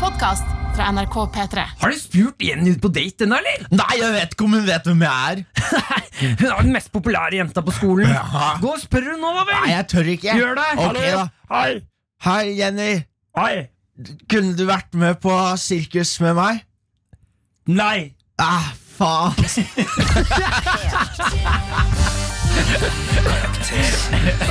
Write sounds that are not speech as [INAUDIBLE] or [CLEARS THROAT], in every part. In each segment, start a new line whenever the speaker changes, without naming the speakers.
podkast fra NRK P3.
Har du spurt Jenny ut på date ennå, eller?
[LAUGHS] Nei, jeg vet ikke om hun vet hvem jeg er.
Hun er den mest populære jenta på skolen.
Ja.
Gå og spør hun nå, da vel!
Nei, jeg tør ikke.
Gjør det!
Ok, da.
Hei!
Hei, Jenny.
Hei!
Kunne du vært med på sirkus med meg?
Nei!
Ah, faen.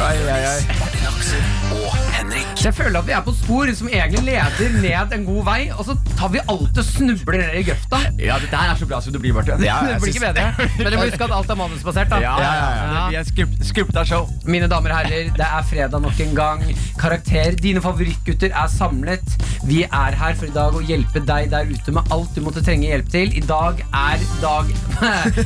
Ai, ai, ai.
Martin Aksel og Henrik.
Jeg føler at vi er på et spor som egentlig leder ned en god vei, og så tar vi alt og snubler ned i grøfta.
Ja, dette her er så bra som det blir, Martin.
Ja,
Det
jeg
blir
syns-
ikke bedre. Men du må huske at alt er manusbasert, da.
Ja, ja,
Ja.
ja. Det blir et skripta show.
Mine damer og herrer, det er fredag nok en gang. Karakter, dine favorittgutter er samlet. Vi er her for i dag å hjelpe deg der ute med alt du måtte trenge hjelp til. I dag er dag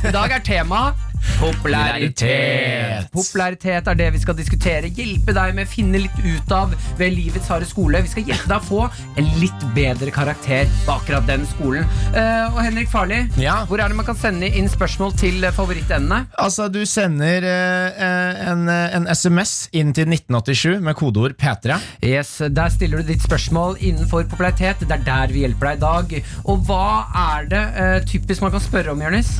I dag [LAUGHS] er temaet Popularitet. Popularitet er det vi skal diskutere. Hjelpe deg med å finne litt ut av ved livets harde skole. Vi skal hjelpe deg å få en litt bedre karakter på akkurat den skolen. Eh, og Henrik Farli,
Ja.
hvor er det man kan sende inn spørsmål til eh, favorittendene?
Altså, du sender eh, eh, en, eh, en SMS inn til 1987 med kodeord P3.
Yes, Der stiller du ditt spørsmål innenfor popularitet. Det er der vi hjelper deg i dag. Og hva er det eh, typisk man kan spørre om, Jonis?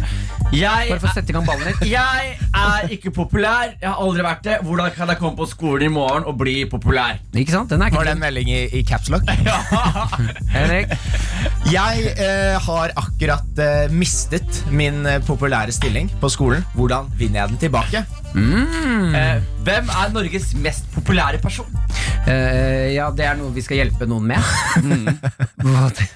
Jeg,
Bare for å sette i gang ballen [LAUGHS] litt.
jeg er ikke populær. Jeg har aldri vært det. Hvordan kan jeg komme på skolen i morgen og bli populær?
Ikke sant? Den er ikke
Var det en melding i, i caps [LAUGHS] lock?
dum. Henrik?
Jeg eh, har akkurat eh, mistet min eh, populære stilling på skolen. Hvordan vinner jeg den tilbake?
Eh, hvem er Norges mest populære person?
Eh, ja, det er noe vi skal hjelpe noen med. Mm. [LAUGHS] Hva te-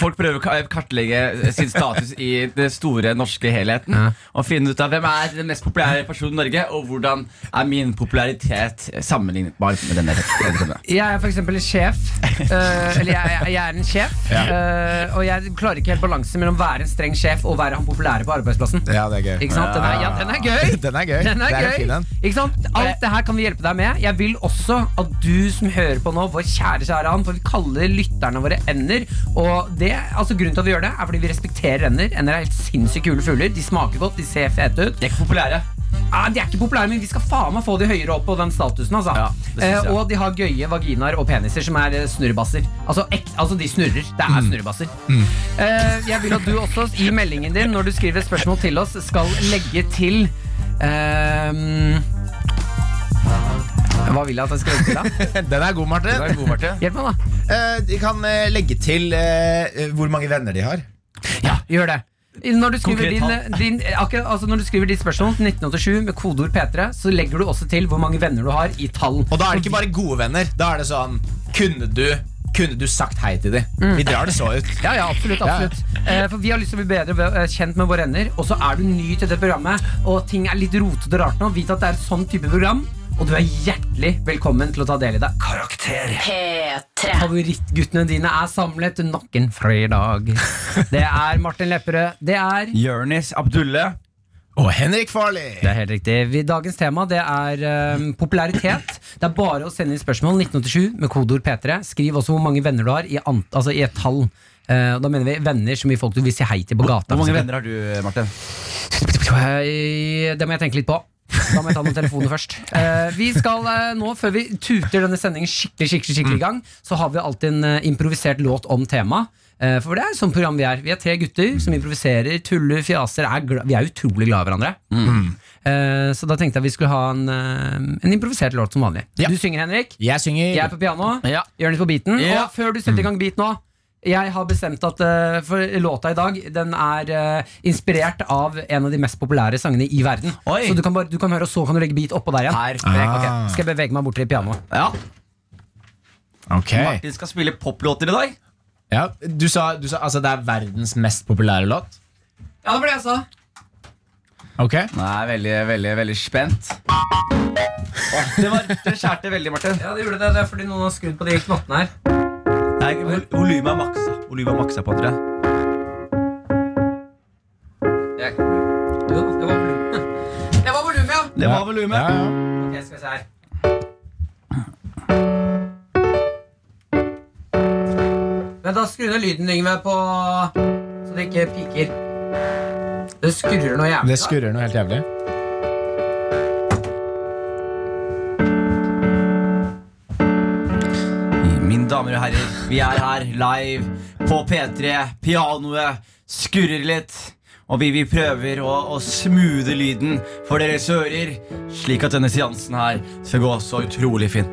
Folk prøver å ka- kartlegge sin status i det store norske helheten.
Ja.
Og finne ut av hvem er den mest populære personen i Norge, og hvordan er min popularitet sammenlignbar med denne. denne.
Jeg er for eksempel sjef. eh, eller jeg, jeg, jeg er en sjef. eh, og jeg klarer ikke helt balansen mellom å være en streng sjef og være han populære på arbeidsplassen.
Ja, det er gøy.
Ikke sant? Den er, ja, den er [LAUGHS]
[LAUGHS]
gøy!
Den er gøy.
Den er
det er en
gøy.
fin en.
Ikke sant? Alt det her kan vi hjelpe deg med. Jeg vil også at du som hører på nå, vår kjære kjære han, for vi kaller lytterne våre ender. Og det, altså Grunnen til at vi gjør det, er fordi vi respekterer ender. Ender er helt sinnssykt kule fugler. De smaker godt, de ser fete ut.
De er ikke populære.
Ja, Ah, de er ikke populære, men vi skal faen meg få de høyere opp på den statusen. altså
Ja, det synes jeg.
eh, Og de har gøye vaginaer og peniser som er eh, snurrebasser. Altså, ek, altså de snurrer. Det
Mm.
er snurrebasser. Eh, jeg vil at du også i meldingen din når du skriver et spørsmål til oss, skal legge til ehm, Hva vil jeg at jeg skal
[LAUGHS]
legge til, da?
Den er god, Martin.
Du er god, Marte.
Hjelp meg, da.
Eh, de kan eh, legge til eh, eh, hvor mange venner de har.
Gjør det. Når du, skriver
Konkret
din, din, akkurat, altså når du skriver ditt spørsmål til 1987 med kodeord P3, så legger du også til hvor mange venner du har i tall.
Og da er det ikke bare gode venner. Da er det sånn Kunne du, kunne du sagt hei til dem?
Mm.
Vi drar det så ut.
Ja, ja, absolutt, absolutt. Eh, for Vi har lyst til å bli bedre ved- eh, kjent med våre ender. Og så er du ny til det programmet, og ting er litt rotete og rart nå. Vit at det er et sånn type program, og du er hjertelig velkommen til å ta del i det.
Karakter.
P3.
Favorittguttene dine er samlet nok en fredag. Det er Martin Lepperød. Det er
Jonis Abdulle.
Og Henrik Farley.
Det er helt riktig. Vi- Dagens tema det er eh, popularitet. Det er bare å sende inn spørsmål 1987 med kodeord P3. Skriv også hvor mange venner du har i, ant altså i et tall. Eh, og da mener vi venner som vi folk du vil si hei til på gata.
Hvor
for
mange
eksempel.
venner har du, Martin?
Eh, Det må jeg tenke litt på. Da må jeg ta noen telefoner først. Eh, vi skal eh, nå, Før vi tuter denne sendingen skikkelig skikkelig, skikkelig i gang, så har vi alltid en eh, improvisert låt om temaet. Eh, for det er sånn program vi er. Vi er tre gutter som improviserer, tuller, fjaser. Er gla vi er utrolig glad i hverandre.
Mm.
Eh, så da tenkte jeg vi skulle ha en, eh, en improvisert låt som vanlig.
Ja.
Du synger, Henrik.
Jeg synger
Jeg er på piano.
Ja.
Jonis på beaten.
Ja. Mm.
Og før du setter i gang beat nå jeg har bestemt at eh, for låta i dag Den er eh, inspirert av en av de mest populære sangene i verden.
Oi.
Så du kan, bare, du kan høre, og så kan du legge beat oppå der igjen.
Her.
Ah.
Skal jeg bevege meg bort til pianoet?
Ja.
Ok.
Martin skal spille poplåter i dag.
Ja. Du sa, du sa altså det er verdens mest populære låt?
Ja, det var det jeg sa.
Ok.
Nei, veldig, veldig, veldig spent. Det, var, det skjærte veldig, Martin.
Ja, det gjorde det. Det er fordi noen har skrudd på de knottene her.
Nei, vol- Volumet er maksa. Volumet er maksa på dere.
Jeg, jo, det var
[LAUGHS]
volum. Det var volum, ja.
Det var volumet.
Ja, ja.
Ok, skal vi se her. Men da skrur ned lyden, Yngve, på Så det ikke piker. Det skurrer noe jævlig.
Det skurrer noe helt jævlig.
I min damer og herrer. Vi er her live på P3. Pianoet skurrer litt. Og vi, vi prøver å, å smoothe lyden for deres ører, slik at denne seansen her skal gå så utrolig fin.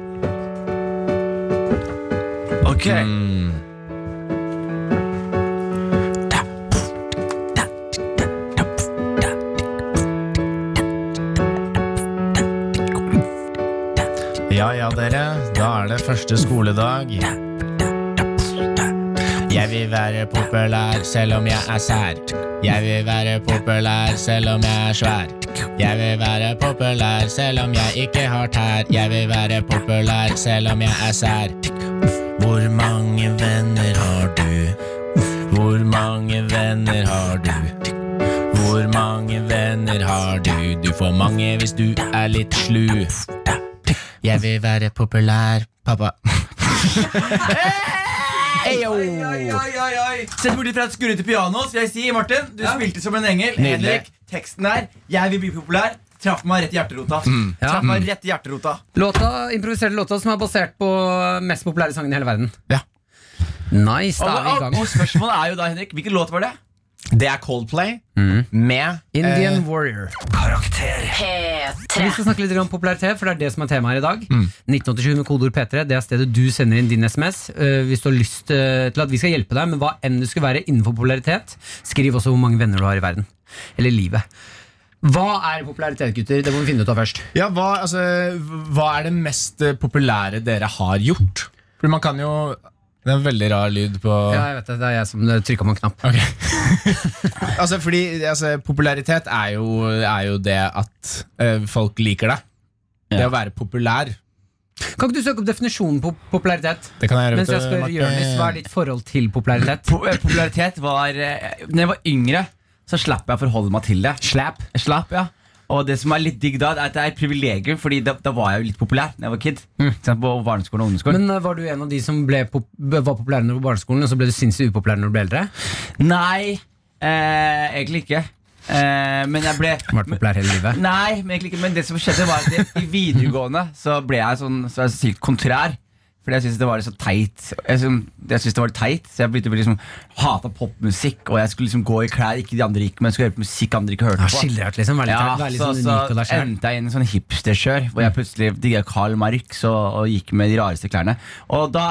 Ok.
Ja ja, dere. Da er det første skoledag. Jeg vil være populær selv om jeg er sær. Jeg vil være populær selv om jeg er svær. Jeg vil være populær selv om jeg ikke har tær. Jeg vil være populær selv om jeg er sær. Hvor mange venner har du? Hvor mange venner har du? Hvor mange venner har du? Du får mange hvis du er litt slu. Jeg vil være populær, pappa.
Oi, oi, oi, oi, oi. Sett bort fra et skurrete piano, skal jeg si, Martin. Du spilte som en engel.
Nydelig.
Henrik, teksten der. Jeg vil bli populær. Traff meg rett i hjerterota.
Mm. Ja.
Traff meg rett i hjerterota.
Låta, improviserte låta som er basert på mest populære sangen i hele verden.
Ja.
Nice, da er vi i
Og,
gang.
og spørsmålet er jo da, Henrik, hvilken låt var det?
Det er Coldplay med eh,
Indian Warrior.
Karakter.
Vi
P3.
skal snakke litt grann om populær TV, for det er det som er temaet her i dag.
Mm.
1987 med kodeord P3, det er stedet du sender inn din SMS eh, hvis du har lyst eh, til at vi skal hjelpe deg med hva enn det skulle være innenfor popularitet. Skriv også hvor mange venner du har i verden. Eller livet. Hva er popularitet, gutter? Det må vi finne ut av først.
Ja, hva, altså, hva er det mest eh, populære dere har gjort? For man kan jo Det er en veldig rar lyd på
Ja, jeg vet det. Det er jeg som trykka på en knapp.
Ok. [LAUGHS] altså, fordi altså, popularitet er jo, er jo det at eh, folk liker deg. Det å være populær.
Kan ikke du søke opp definisjonen på popularitet?
Det kan jeg
Mens jeg spør Jonis, hva er ditt forhold til popularitet?
Po eh, popularitet var eh, Når jeg var yngre, så slapp jeg å forholde meg til det.
Slap.
Jeg Slapp, ja og det som er litt digg da, er at det er et privilegium, Fordi da, da var jeg jo litt populær da jeg var kid.
Mm.
Ikke sant, På barneskolen og ungdomsskolen.
Men eh, var du en av de som ble pop var populær når du var på barneskolen, og så ble du sinnssykt upopulær når du ble eldre?
Nei, eh, egentlig ikke. Eh, men jeg ble
Vært populær hele livet.
Nei, men, egentlig ikke, men det som skjedde var at jeg, i videregående så ble jeg sånn så jeg så sykt kontrær. Fordi jeg syntes det var så teit. Jeg, syn- jeg syntes det var teit Så jeg begynte å bli liksom hata popmusikk, og jeg skulle liksom gå i klær ikke de andre gikk men jeg skulle høre på musikk andre ikke hørte
Ja,
på.
skiller deg ut, liksom. Vær litt,
Ja,
vær litt
så,
sånn
så
unik og deg selv.
endte jeg inn i en sånn hipsterkjør hvor jeg plutselig digga Karl Marx og, og gikk med de rareste klærne. Og da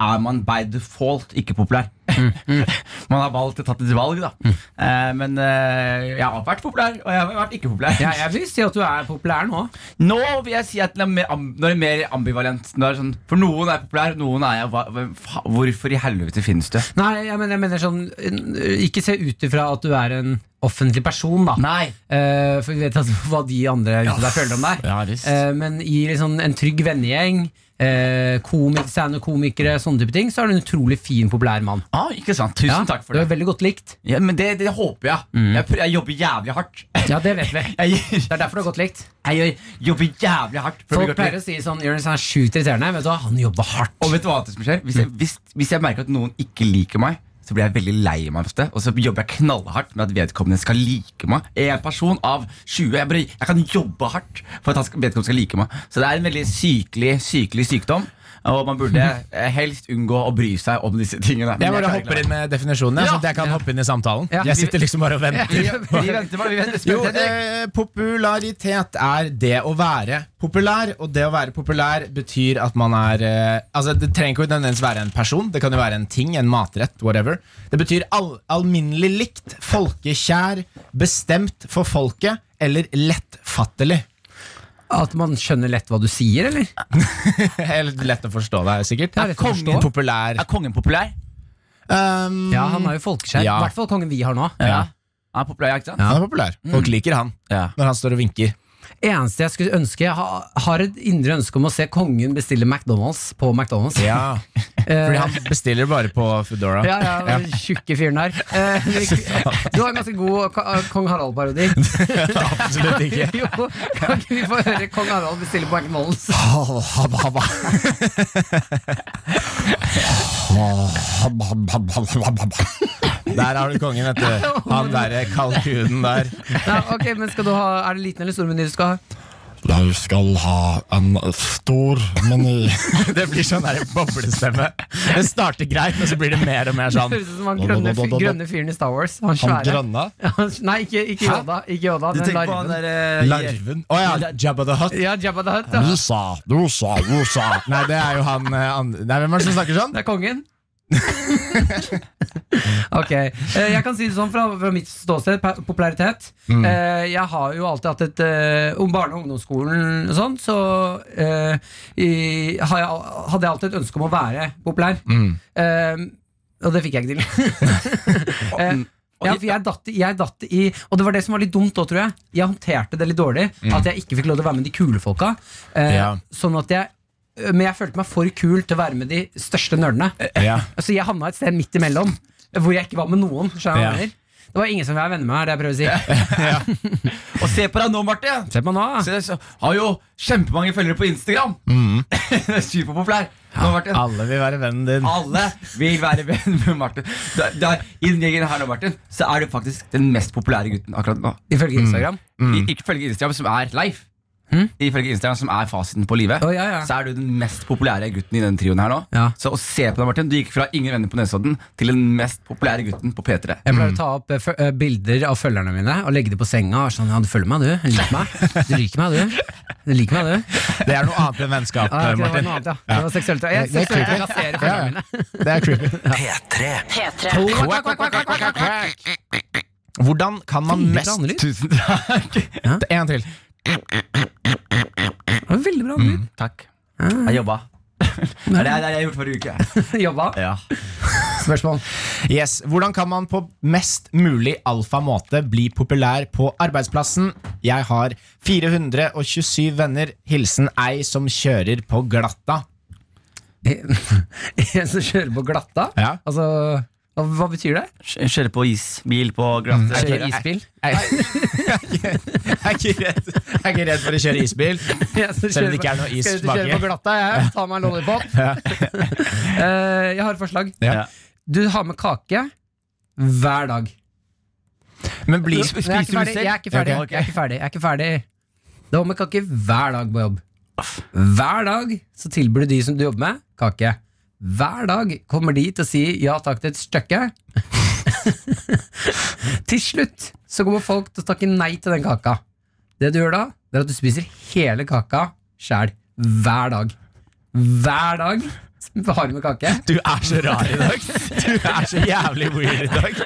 er man by default ikke populær.
Mm,
[LAUGHS] man har valgt tatt et valg, da. Eh, men eh, jeg har vært populær, og jeg har vært ikke populær.
Ja, jeg vil si at du er populær nå.
Nå vil jeg si at den er mer, am nå er det mer ambivalent. Nå er det sånn, for noen er populær, noen er jeg hva, hvem fa- Hvorfor i helvete finnes du?
Nei, jeg mener, jeg mener sånn eh, Ikke se ut ifra at du er en offentlig person, da.
Nei.
Eh, for vi vet altså hva de andre ute der føler om deg.
Ja, visst.
Eh, men i liksom en trygg vennegjeng, eh, komik standup komikere, sånne type ting, så er du en utrolig fin, populær mann.
Ah, ikke sant. Tusen
Ja,
takk for
Du
det.
er veldig godt likt.
Ja, men det, det håper jeg. Jeg, prø- jeg jobber jævlig hardt.
Ja, det vet vi.
[LAUGHS] Jeg,
Det er derfor du er godt likt.
jeg gjør- jobber jævlig hardt. for å bli
Folk
godt
pleier
likt.
å si sånn Jonis er sjukt irriterende. Vet du hva, han jobber hardt.
Og vet du hva annet som skjer? Hvis jeg,
Mm.
hvis, hvis jeg merker at noen ikke liker meg, så blir jeg veldig lei meg ofte. Og så jobber jeg knallhardt med at vedkommende skal like meg. En person av 20. Jeg, bare, jeg kan jobbe hardt for at han skal, vedkommende skal like meg. Så det er en veldig sykelig, sykelig sykdom. Og man
[LAUGHS]
burde eh, helst unngå å bry seg om disse tingene. Men
Jeg bare
klarer ikke
hopper
det.
inn med definisjonen, ja,
Ja.
sånn at jeg kan hoppe inn i samtalen.
Ja.
Jeg sitter liksom bare og venter.
Vi, vi venter bare. Vi venter
Jo,
spent, Henrik.
eh, popularitet er det å være populær, og det å være populær betyr at man er eh, Altså, Det trenger ikke nødvendigvis være en person, det kan jo være en ting, en matrett, whatever. Det betyr all, alminnelig likt, folkekjær, bestemt for folket eller lettfattelig. [LAUGHS]
At man skjønner lett hva du sier, eller?
Eller lett å forstå, det er sikkert.
Ja, lett å
kongen
forstå.
populær?
Er kongen populær?
Um,
Ja, han er jo folkeskjær. I
Ja.
hvert fall kongen vi har nå.
Ja. Han er populær, ikke sant?
Han er populær.
Mm.
Folk liker han
Ja.
når han står og vinker.
Eneste jeg skulle ønske Jeg har, har et indre ønske om å se kongen bestille McDonald's på McDonald's. Eh,
Ja, [LAUGHS] Fordi han bestiller bare på Foodora.
Ja, ja, den tjukke fyren her. Eh, du har en ganske god ka- kong Harald-parodi.
Absolutt ikke.
[LAUGHS] Jo, kan ikke vi få høre kong Harald bestille på McDonald's?
Habba, habba, habba. Habba, habba, habba, habba, habba. Der har du kongen, vet du. Han derre kalkunen der.
Nei, ok, men skal du ha, Er det liten eller stor meny du skal ha?
Jeg skal ha en stor meny.
Det blir sånn der boblestemme. Det starter greit, men så blir det mer og mer sånn.
Høres ut som han grønne,
Da, da, da, da, da.
grønne fyren i Star Wars. Han
Han
svære. [LAUGHS]
grønne.
Nei, ikke, ikke Yoda. Ikke Yoda
Du
men
tenker på han
larven.
der eh,
Larven. Å ja, Jabba the Hutt.
Ja, Jabba the Hutt. Ja.
Rosa, rosa, rosa. Nei, det er jo han eh, andre Nei, hvem er det som snakker sånn?
Det er kongen. [LAUGHS] ok. Eh, Jeg kan si det sånn fra, fra mitt ståsted, pa- popularitet. Eh, Jeg har jo alltid hatt et eh, Om barne- og ungdomsskolen og sånn, så eh, i, har jeg, al- hadde jeg alltid et ønske om å være populær. Eh, og det fikk jeg ikke til. Eh, ja, for jeg datt, i- jeg datt i Og det var det som var litt dumt da, tror jeg. Jeg håndterte det litt dårlig. At jeg ikke fikk lov til å være med de kule folka. Eh,
Ja.
Sånn at jeg men jeg følte meg for kul til å være med de største nerdene.
Ja.
Så Altså, jeg havna et sted midt imellom, hvor jeg ikke var med noen. skjønner du hva jeg
Ja.
mener? Det var ingen som ville være venner med, er det jeg prøver å si.
Og se på deg nå, Marte!
Se på nå, da.
Se, så, har jo kjempemange følgere på Instagram. [LAUGHS] Superpopulær. Nå, Martin.
Alle vil være vennen din.
Alle vil være venn med Martin. Da, da, I den gjengen her nå, Martin, så er du faktisk den mest populære gutten akkurat nå.
Mm.
Ifølge Instagram.
I, ifølge Instagram, som er Leif. Ifølge Instagram, som er fasiten på livet,
Å, ja, ja.
så er du den mest populære gutten i den trioen her nå.
Ja.
Så å se på deg, Martin, du gikk fra ingen venner på Nesodden til den mest populære gutten på P3.
Jeg
Mm.
pleier å ta opp eh, fø- eh, bilder av følgerne mine og legge dem på senga. Og sånn, ja, du følger meg, du. Du liker meg, du. liker meg, du. Du liker meg, du.
Det er noe annet enn
Ah,
vennskap.
ok, det var
Martin.
noe annet, ja. Det var seksuelt. Jeg,
Det er
seksuelt
creepy.
raserer
Ja,
følgerne mine.
ja. Det er
[LAUGHS]
creepy.
P3
P3.
Quack, quack, quack, quack, quack, quack. Hvordan kan man
Fire
mest
kranelyd. [LAUGHS]
Tusen takk!
Ja.
En til.
Det var Veldig bra lyd.
Takk. Jeg jobba. [LAUGHS] Det er det jeg har gjort forrige uke.
Mm.
Jobba.
Ja.
Spørsmål.
Yes. Hvordan kan man på mest mulig alfa måte bli populær på arbeidsplassen? Jeg har 427 venner. Hilsen ei som kjører på glatta.
En som kjører på glatta?
Ja.
Altså, hva, hva betyr det?
Kjøre på isbil på glatte
Kjører isbil? [LAUGHS]
Jeg er ikke redd, jeg er ikke redd for å kjøre isbil.
Jeg som
Selv om
kjører
det ikke er
på-
noe is
Skal ut og kjøre
baki.
på glatta, jeg. Ta meg en lollipop. Eh, jeg har et forslag.
Ja.
Du har med kake hver dag.
Men bli
Men jeg, er ikke ferdig, jeg er ikke ferdig.
Ok.
Jeg er ikke ferdig. Jeg er ikke ferdig. Du har med kake hver dag på jobb. Hver dag så tilbyr du de som du jobber med, kake. Hver dag kommer de til å si ja takk til et stykke. [LAUGHS] til slutt så kommer folk til å takke nei til den kaka. Det du gjør da, det er at du spiser hele kaka sjæl. Hver dag. Hver dag har du med kake.
Du er så rar i dag. Du er så jævlig weird i dag.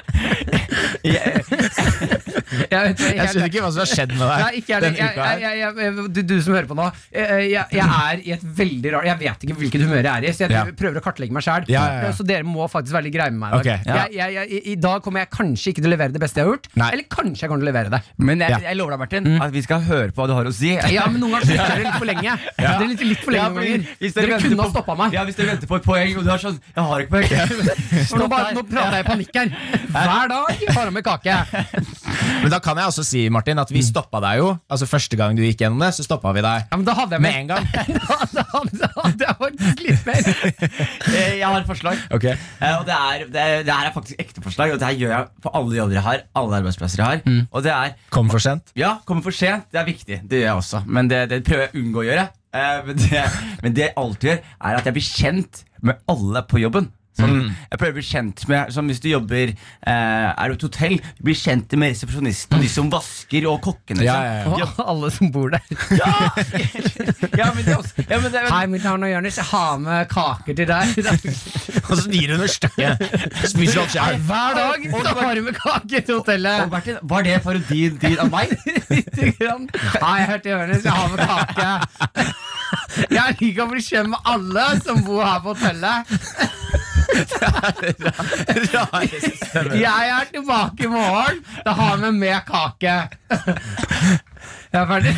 Jeg vet
Jeg
helt-
skjønner ikke hva som har skjedd med deg
Nei, ikke jeg,
denne
jeg,
uka her.
jeg, jeg, jeg, du, du som hører på nå. Jeg, jeg, jeg er i et veldig rart Jeg vet ikke hvilket humør jeg er i, så jeg
Ja.
prøver å kartlegge meg sjæl.
Ja, ja, ja.
Så dere må faktisk være litt greie med meg i dag.
Ok, ja.
Jeg, jeg, jeg, I dag kommer jeg kanskje ikke til å levere det beste jeg har gjort,
Nei.
eller kanskje jeg kommer til å levere det.
Men jeg,
Ja.
jeg lover deg, Martin, at vi skal høre på hva du har å si.
Mm. Ja, men noen ganger slutter dere litt for lenge. Dere er litt, litt for lenge
[LAUGHS] Ja,
noen
fordi
ganger.
hvis
Dere
venter
kunne
på-
ha stoppa meg.
Ja, Hvis dere venter på et poeng, og du har sånn Jeg har ikke
[LAUGHS]
poeng.
For nå, bare, nå prater jeg i panikk her. Hver dag har han med kake.
Men da kan jeg også si, Martin, at vi stoppa deg jo. Altså Første gang du gikk gjennom det, så stoppa vi deg
Ja, men da hadde jeg
med
med
en gang.
[LAUGHS] Da da hadde jeg faktisk litt mer.
Eh, Jeg har et forslag.
[LAUGHS] Ok
Eh, Og det, er, det, er, det her er faktisk ekte forslag, og det her gjør jeg på alle jobber jeg har. Alle arbeidsplasser jeg har.
Mm.
Og det er
Kom for sent.
Ja, kommer for sent. Det er viktig. Det gjør jeg også. Men det, det prøver jeg å unngå å gjøre. Eh, men, det, men det jeg alltid gjør, er at jeg blir kjent med alle på jobben. Sånn, Jeg prøver å bli kjent med sånn Hvis du jobber eh, Er du et hotell, bli kjent med resepsjonisten og de som vasker, og kokkene.
Ja,
liksom.
ja, [LAUGHS] ja.
Og alle som bor der.
Ja, men det er også, ja, men det,
Hei, mitt navn er Jonis. Jeg har med kaker til deg.
Og så gir hun et [LAUGHS] stykke. Spiser opp sjæl.
Hver dag så har du med kake til
og
hotellet.
Martin, var det parodien din av [LAUGHS] meg?
Lite grann. Hei, jeg heter Jonis. Jeg har med kake. [LAUGHS] Jeg liker å bli kjent med alle som bor her på hotellet. Jeg er tilbake i morgen. Da har vi med kake. Jeg er ferdig.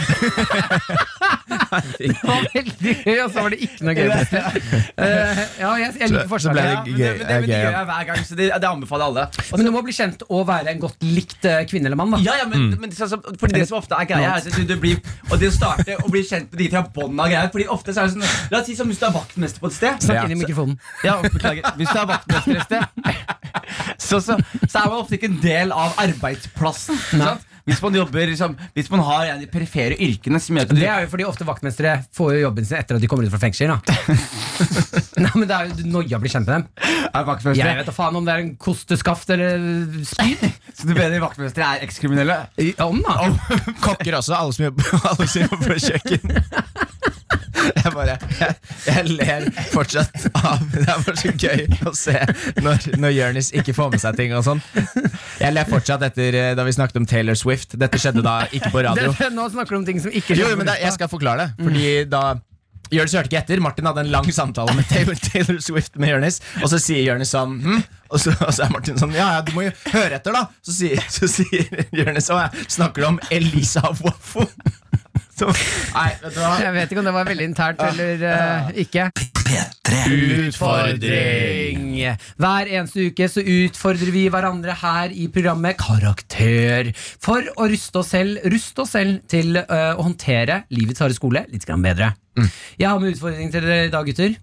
Det var veldig gøy, og så var det ikke noe gøy. Eh, Ja, jeg, jeg liker
Så ble
forslaget.
det
Ja, men
gøy.
det, men det, men det
gøy.
gjør jeg hver gang, så det, det anbefaler alle. Og
Men du må bli kjent og være en godt likt eh, kvinne eller mann. da
Ja, ja, men, men det, altså, for det som ofte er greia er at du, du blir, Og det å starte å bli kjent med de fra bånn av greier Fordi ofte så er det sånn La oss si som hvis du er vaktmester på et sted
Snakk
Ja.
inn i mikrofonen.
Ja, beklager Hvis du er [LAUGHS] vaktmester et sted så, så, så er man ofte ikke en del av arbeidsplassen sant? Hvis man jobber liksom, Hvis man har en av de perifere yrkene som gjør at du
Det er jo fordi ofte vaktmestere får jo jobben sin etter at de kommer ut fra fengsel.
[LAUGHS]
Da. Nei, men det er jo Noia blir kjent med dem.
er
Jeg
vaktmester
vet da faen om det er en kosteskaft eller spyd.
[LAUGHS] Så du mener vaktmestere er ekskriminelle?
I- Om, da.
Kokker også, alle som jobber, [LAUGHS] alle som jobber på kjøkken. Jeg bare jeg, jeg ler fortsatt av Det er bare så gøy å se når, når Jonis ikke får med seg ting og sånn. Jeg ler fortsatt etter eh, da vi snakket om Taylor Swift. Dette skjedde da ikke på radio.
Det, nå snakker du om ting som ikke
Jo, jo, men det, jeg skal forklare det. Fordi
Mm.
da Jonis hørte ikke etter. Martin hadde en lang samtale med Taylor, Taylor Swift med Jonis. Og så sier Jonis sånn hm? og, så, og så er Martin sånn Ja, ja, du må jo høre etter, da. Så sier, så sier Jonis Å, jeg snakker om Elisa Waffo. Så- Nei, vet du hva?
Jeg vet ikke om det var veldig internt eller eh, ikke. Utfordring! Hver eneste uke så utfordrer vi hverandre her i programmet Karakter. For å ruste oss selv, ruste oss selv til eh, å håndtere livets harde skole litt grann bedre. Jeg har med utfordring til dere i dag, gutter.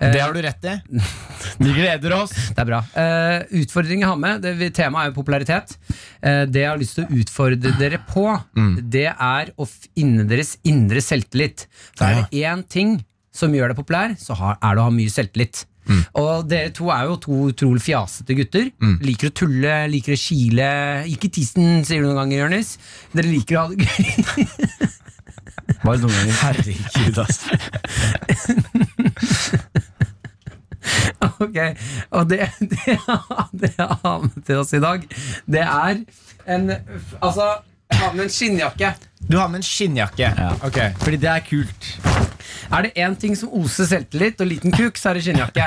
Eh,
Det har du rett i. Vi gleder oss.
Det er bra. Eh, utfordringen jeg har med, det, temaet er jo popularitet. Eh, det jeg har lyst til å utfordre dere på,
Mm.
det er å finne deres indre selvtillit. For er det én ting som gjør deg populær, så har, er det å ha mye selvtillit.
Mm.
Og dere to er jo to utrolig fjasete gutter. Liker å tulle, liker å kile. Ikke tissen, sier du noen ganger, Jonis. Dere liker å ha det gøy.
Bare noen ganger.
Herregud, ass.
Ok, og det, det, det jeg har med til oss i dag, det er en Altså, ha med en skinnjakke.
Du har med en skinnjakke. Ok
Fordi det er kult.
Er det én ting som oser selvtillit og liten kuk, så er det skinnjakke.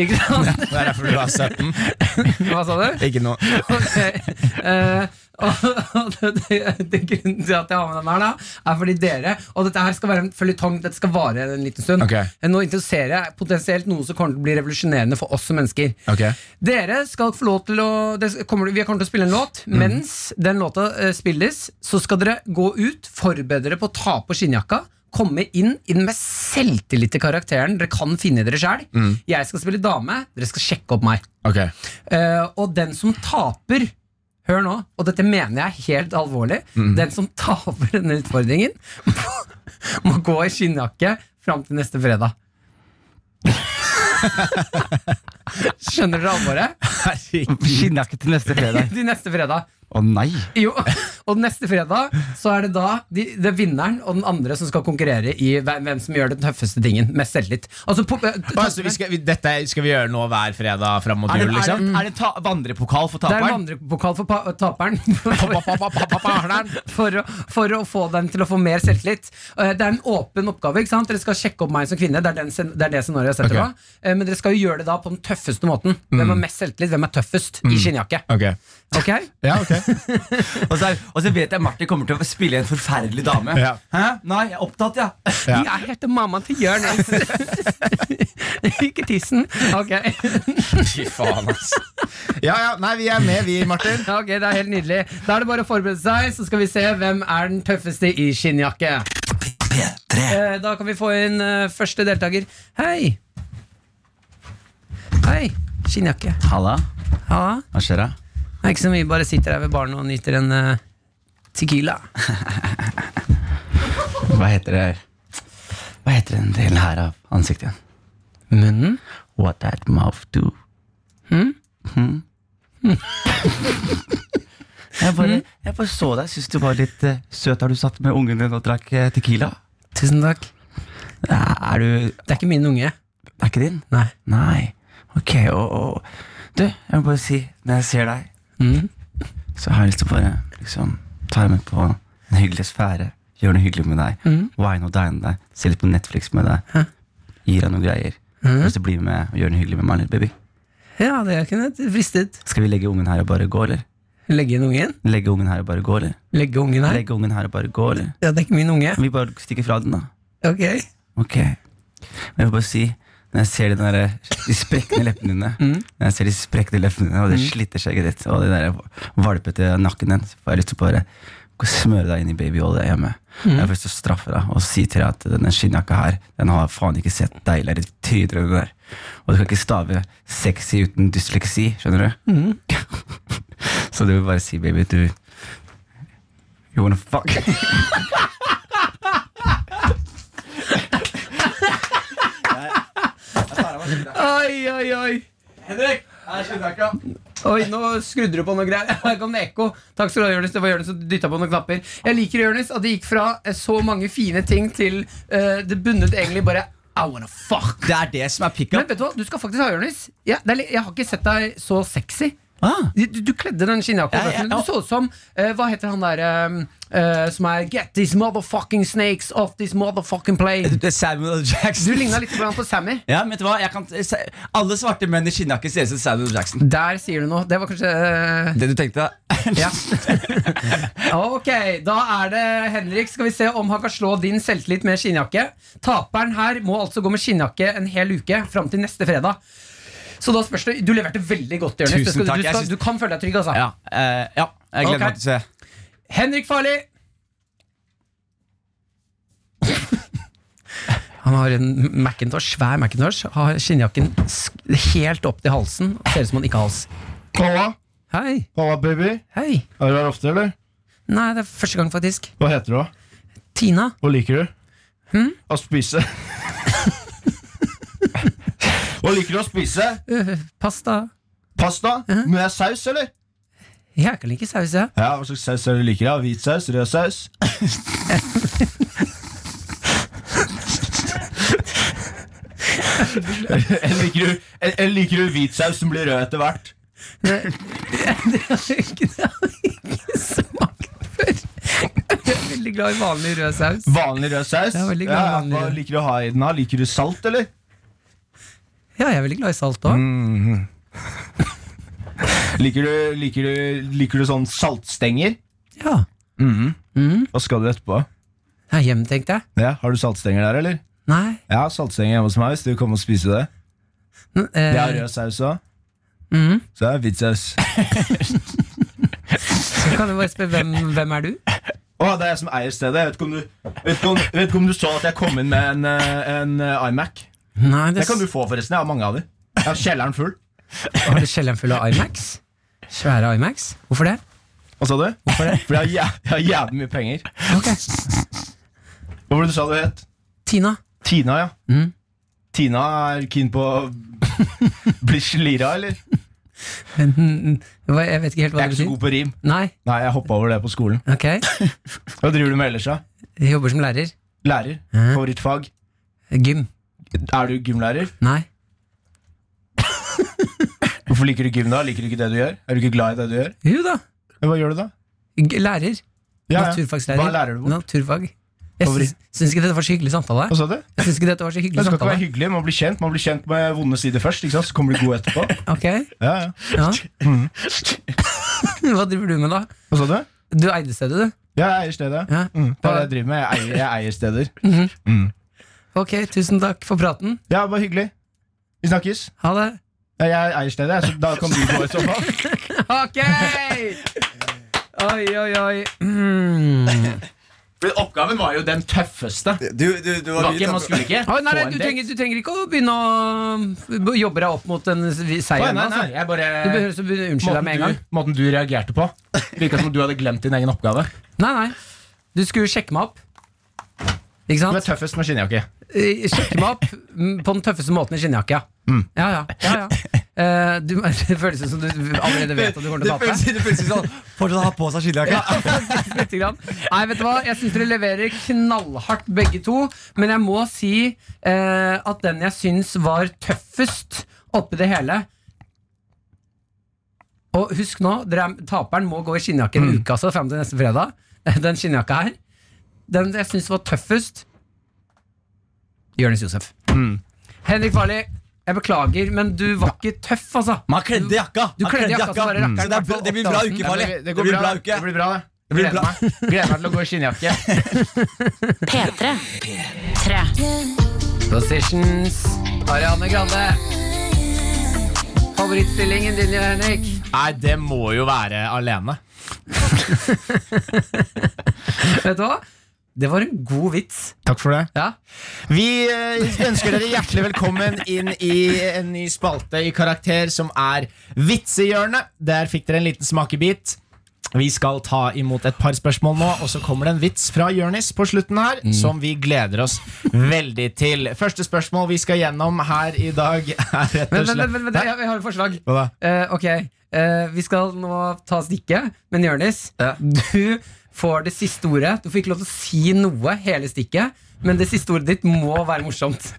Ikke
[LAUGHS]
sant?
Det er derfor du har 17.
Hva sa du?
Ikke noe.
Ok. Eh, og og det, det, det Grunnen til at jeg har med den her, da, er fordi dere Og dette her skal være en føljetong. Dette skal vare en liten stund. Eh,
Ok.
Nå introduserer jeg potensielt noe som kommer til å bli revolusjonerende for oss som mennesker.
Ok.
Dere skal få lov til å dere kommer, Vi kommer til å spille en låt.
Mhm.
Mens den låta eh, spilles, så skal dere gå ut, forberede dere på å ta på skinnjakka. Komme inn i den mest selvtillite karakteren dere kan finne i dere sjæl.
Mhm.
Jeg skal spille dame, dere skal sjekke opp meg.
Ok.
Eh, og den som taper Hør nå, og dette mener jeg helt alvorlig. Den som taper denne utfordringen, [LAUGHS] må gå i skinnjakke fram til neste fredag. [LAUGHS] Skjønner dere alvoret?
Skinnjakke til neste fredag.
Til neste fredag.
Å nei.
Jo, og neste fredag så er det da de, det er vinneren og den andre som skal konkurrere i hvem hvem som gjør den tøffeste tingen. Mest selvtillit. Altså, på-
Å, så vi skal, vi, dette skal vi gjøre nå hver fredag fram mot
Er det,
jul,
er det,
liksom?
er det ta vandrepokal for
det er en
taperen?
vandrepokal for pa taperen. for, å, for å få dem til å få mer selvtillit. Eh, Det er en åpen oppgave. ikke sant? Dere skal sjekke opp meg som kvinne. Det er, den, scen- det, er det scenarioet jeg setter
Ok.
på. Eh, Men dere skal jo gjøre det da på den tøffeste måten. Hvem har mest selvtillit? Hvem er tøffest i skinnjakke?
Ok.
Ok?
Ja, Mm. ok
Og så, er- og så vet jeg Martin kommer til å spille en forferdelig dame.
Ja.
Hæ? Nei, jeg er opptatt, jeg. [LAUGHS] Ja.
Ja.
Jeg heter mammaen til Jonis. [LAUGHS] Ikke tissen. Ok,
Fy faen, ass. Ja, ja, nei, vi er med, vi, Martin.
Ok, det er helt nydelig. Da er det bare å forberede seg, så skal vi se hvem er den tøffeste i skinnjakke. Eh, Da kan vi få inn eh, første deltaker. Hei! Hei. Skinnjakke.
Halla.
Ja,
Hva skjer da?
det er ikke så mye, bare sitter her ved baren og nyter en eh, tequila.
Hva heter det her? Hva heter den delen her av ansiktet igjen?
Munnen?
What that mouth do?
Mm.
Hm? jeg, bare, jeg bare så deg. Syns du var litt eh, søt da du satt med ungen din og drakk eh, tequila.
Tusen takk.
Er, er du
Det er ikke min unge.
Er ikke din?
Nei.
Nei. Ok, og, og Du, jeg må bare si, når jeg ser deg,
Mm.
så har jeg lyst til å bare liksom ta deg med på en hyggelig sfære. Gjøre noe hyggelig med deg. Wine og dine deg. Se litt på Netflix med deg. Gi deg noen greier. Har du lyst til å bli med og gjøre noe hyggelig med meg, lille baby.
Ja, det kunne jeg fristet.
Skal vi legge ungen her og bare gå, eller?
Legge inn ungen?
Legge ungen her og bare gå, eller?
Legge ungen her?
Legge ungen her og bare gå, eller?
Ja, det er ikke min unge.
Vi bare stikker fra den, da.
Ok.
Ok. Men jeg vil bare si, når jeg ser de, der, de sprekne leppene dine, når jeg ser de sprekne leppene dine, og det slitte skjegget ditt, og det der valpete nakken din, så får jeg lyst til å bare gå og smøre deg inn i babyolje hjemme. Jeg har lyst til å straffe deg og si til deg at denne skinnjakka her, den har faen ikke sett deiligere tryner enn det der. Og du kan ikke stave sexy uten [LAUGHS] dysleksi, skjønner du? så du vil bare si, baby, du
You wanna fuck?
Oi, oi, oi.
Henrik! Jeg skjønner ikke.
Oi, nå skrudde du på noe greier. [LAUGHS] Her kom det ekko. Takk skal du ha, Jonis. Det var Jonis som dytta på noen knapper. Jeg liker Jonis at det gikk fra eh, så mange fine ting til eh, det bundet egentlig bare I wanna fuck.
Det er det som er
Men
pickup.
vet du hva, du skal faktisk ha Jonis. Ja, det er litt- jeg har ikke sett deg så sexy.
Ah.
Du, du- du kledde den skinnjakka.
Ja, ja,
men Du så ut som eh, Hva heter han derre som er Get these motherfucking snakes off this motherfucking
[LAUGHS]
plane.
[LAUGHS] Det er Samuel L.
Du
Jackson.
ligna litt grann på Sammy.
Ja, men vet du hva? Jeg kan, se- alle svarte menn i skinnjakke ser ut som Samuel L. Jackson.
Der sier du noe. Det var kanskje eh,
Det du tenkte? [LAUGHS]
Ja. ok, da er det Henrik. Skal vi se om han kan slå din selvtillit med skinnjakke. Taperen her må altså gå med skinnjakke en hel uke fram til neste fredag. Så da spørs det, Du leverte veldig godt, Jonis.
Tusen
Det skal-
takk,
Du,
jeg
skal-
syns-
du kan føle deg trygg, altså.
Ja. eh, ja. Jeg gleder
Ok.
meg til å se.
Henrik Farli! Han har en Macintosh, svær Macintosh. Har skinnjakken sk- helt opp til halsen. Ser ut som han ikke har hals.
Halla,
Hei,
halla baby.
hei.
Er du her ofte, eller?
Nei, det er første gang, faktisk.
Hva heter du? da?
Tina.
Hva liker du? Å [LAUGHS] spise. Hva liker du å spise?
Pasta.
Pasta? Med saus, eller?
Jeg kan like saus, jeg.
Ja, Hva slags saus er det du liker? da? Hvit saus? Rød saus? [LAUGHS] Eller liker, du, eller- eller liker du hvit saus som blir rød etter hvert?
Det har ikke smakt før. Jeg er veldig glad i vanlig rød saus.
Vanlig rød saus?
Jeg er veldig glad i
Ja,
vanlig
hva
rød.
liker du å ha i den? da? Liker du salt, eller?
Ja, jeg er veldig glad i salt òg.
Liker du, liker du, liker du sånn saltstenger?
Ja.
Hva skal du etterpå?
Jeg er hjem, tenkte jeg.
Ja, Har du saltstenger der, eller?
Nei.
Jeg har saltstenger hjemme hos meg hvis du vil komme og spise det.
N-
Jeg har
Eh,
rød saus òg. Så er det hvit saus.
så [LAUGHS] kan du bare spørre hvem, hvem er du?
Å, det er jeg som eier stedet. Jeg vet ikke om du, vet ikke om, vet ikke om du så at jeg kom inn med en, eh, en eh, iMac.
Nei, det
Det kan du få, forresten. Jeg har mange av dem. Jeg har kjelleren full.
Har du kjelleren full av iMacs? Svære iMacs? Hvorfor det?
Hva sa du? Hvorfor [LAUGHS] det? For jeg har, jæ- jeg har jævlig mye penger.
Ok,
Hva var det du sa du het?
Tina.
Tina, ja.
Mhm.
Tina er keen på å [LAUGHS] bli slira, eller?
Hva- Jeg vet ikke helt
Jeg
hva
er
det
ikke så
betyr.
god på rim.
Nei,
Nei, jeg hoppa over det på skolen.
ok.
Hva driver du med ellers, da?
Jeg jobber som lærer.
Lærer?
Mhm.
Favorittfag?
Gym.
Er du gymlærer?
Nei.
Hvorfor liker du gym da? Liker du ikke det du gjør? Er du ikke glad i det du gjør?
Jo da.
Ja, Hva gjør du da?
G- Lærer.
Ja, ja.
Naturfagslærer.
Hva lærer du bort?
Naturfag. Jeg
Favoritt.
syns, syns ikke dette var så hyggelig samtale.
Hva sa du?
Jeg syns ikke dette var så
Det
hyggelig
skal ikke
samtale.
være hyggelig, man blir kjent Man blir kjent med vonde sider først, ikke sant? så kommer du god etterpå.
Ok, [LAUGHS]
Ja, ja. [LAUGHS]
ja
Mm.
[LAUGHS] Hva driver du med da?
Hva sa du?
Du eide stedet du?
Ja, jeg eier stedet.
Ja.
Mm, det er det jeg driver med. Jeg eier, jeg eier steder.
Ok, tusen takk for praten
Ja, bare hyggelig. Vi snakkes.
Ha
[LAUGHS]
det
Ja, Jeg eier stedet, så da kan du gå i så
[LAUGHS]
fall.
Ok [LAUGHS] Oi, oi, oi mm.
For Oppgaven var jo den tøffeste. Det
Du, du, du
var ikke, man skulle ikke
Oi, nei,
få
nei,
en
du,
del.
trenger, du trenger ikke å begynne å jobbe deg opp mot en seier
Nei, nei,
nå,
nei,
altså.
jeg bare
Du behøver å begynne å unnskylde deg med en
måten,
gang
du, måten du reagerte på. Virka som om du hadde glemt din egen oppgave.
Nei, nei Du skulle sjekke meg opp Ikke
Du er
sant?
tøffest med skinnjakke.
Eh, Sjekke meg opp mm, på den tøffeste måten i skinnjakka
Mm.
Ja, ja, ja,
[LAUGHS]
ja Eh, du, [LAUGHS] det føles som du allerede vet at du kommer til å tape
Det føles sånn Fortsatt ha på seg skinnjakke.
[LAUGHS] Lite grann. Nei, vet du hva? Jeg syns dere leverer knallhardt begge to. Men jeg må si eh, at den jeg syns var tøffest oppi det hele Og husk nå, dere er, taperen må gå i skinnjakke
Mm.
en uke altså, fram til neste fredag. [LAUGHS] Den skinnjakka her. Den jeg syns var tøffest Jonis Josef.
Mm.
Henrik Farli, jeg beklager, men du var ikke tøff, altså.
Man kledde jakka.
Du
Man
kledde jakka, så bare rakkeren
Så det, er, bra- det blir bra uke, Farlig.
Det,
Det
går
blir
bra.
bra
Det
uke.
blir bra, det.
Det blir bra.
Gleder meg til å gå i skinnjakke.
P3. P3.
Positions. Ariane Grande. Favorittstillingen din, Henrik?
Nei, det må jo være alene.
Vet du hva? Det var en god vits.
Takk for det.
Ja.
Vi eh, ønsker dere hjertelig velkommen inn i en ny spalte i Karakter, som er Vitsehjørnet. Der fikk dere en liten smakebit.
Vi skal ta imot et par spørsmål nå, og så kommer det en vits fra Jørnis på slutten her, som vi gleder oss veldig til. Første spørsmål vi skal gjennom her i dag, er rett
Vent,
og
vent,
slett
vent, vent, jeg, jeg har et forslag.
Hva da?
Eh, ok, eh, vi skal nå ta stikket, men Jonis, du får det siste ordet. Du får ikke lov til å si noe hele stikket, men det siste ordet ditt må være morsomt.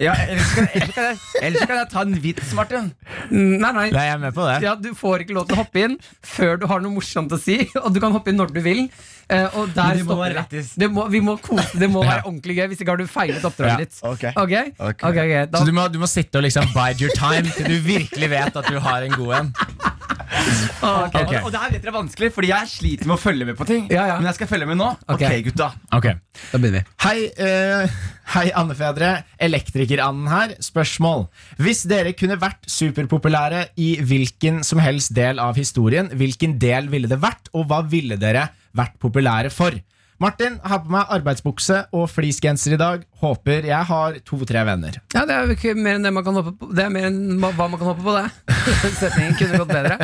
Ja, ellers, kan, ellers, kan jeg, ellers kan jeg ta en vits, Martin.
Nei, nei.
Nei, jeg er med på det.
Ja, Du får ikke lov til å hoppe inn før du har noe morsomt å si. Og du kan hoppe inn når du vil. eh, Og der
det må
stopper
være
det.
lættis.
det. Må, vi må kose, det må være ordentlig gøy. Hvis ikke har du feilet
Ja,
oppdraget ditt.
ok.
Ok?
Ok.
Ok, ok, da-
Så du må, du må sitte og liksom bide your time til du virkelig vet at du har en god en.
Ah, ok.
Ok.
Og, og det her vet dere er vanskelig, fordi jeg sliter med å følge med på ting.
Ja, ja.
Men jeg skal følge med nå.
Ok.
ok, gutta.
Ok
Da begynner vi.
Hei, eh, hei Andefedre. Elektrikeranden her. Spørsmål. Hvis dere kunne vært superpopulære i hvilken som helst del av historien, hvilken del ville det vært, og hva ville dere vært populære for? Martin har på meg arbeidsbukse og fleecegenser i dag. Håper jeg har to-tre venner.
Ja, det er jo ikke mer enn det man kan håpe på. Det er mer enn ma- hva man kan håpe på, det. [LAUGHS] Setningen kunne gått bedre.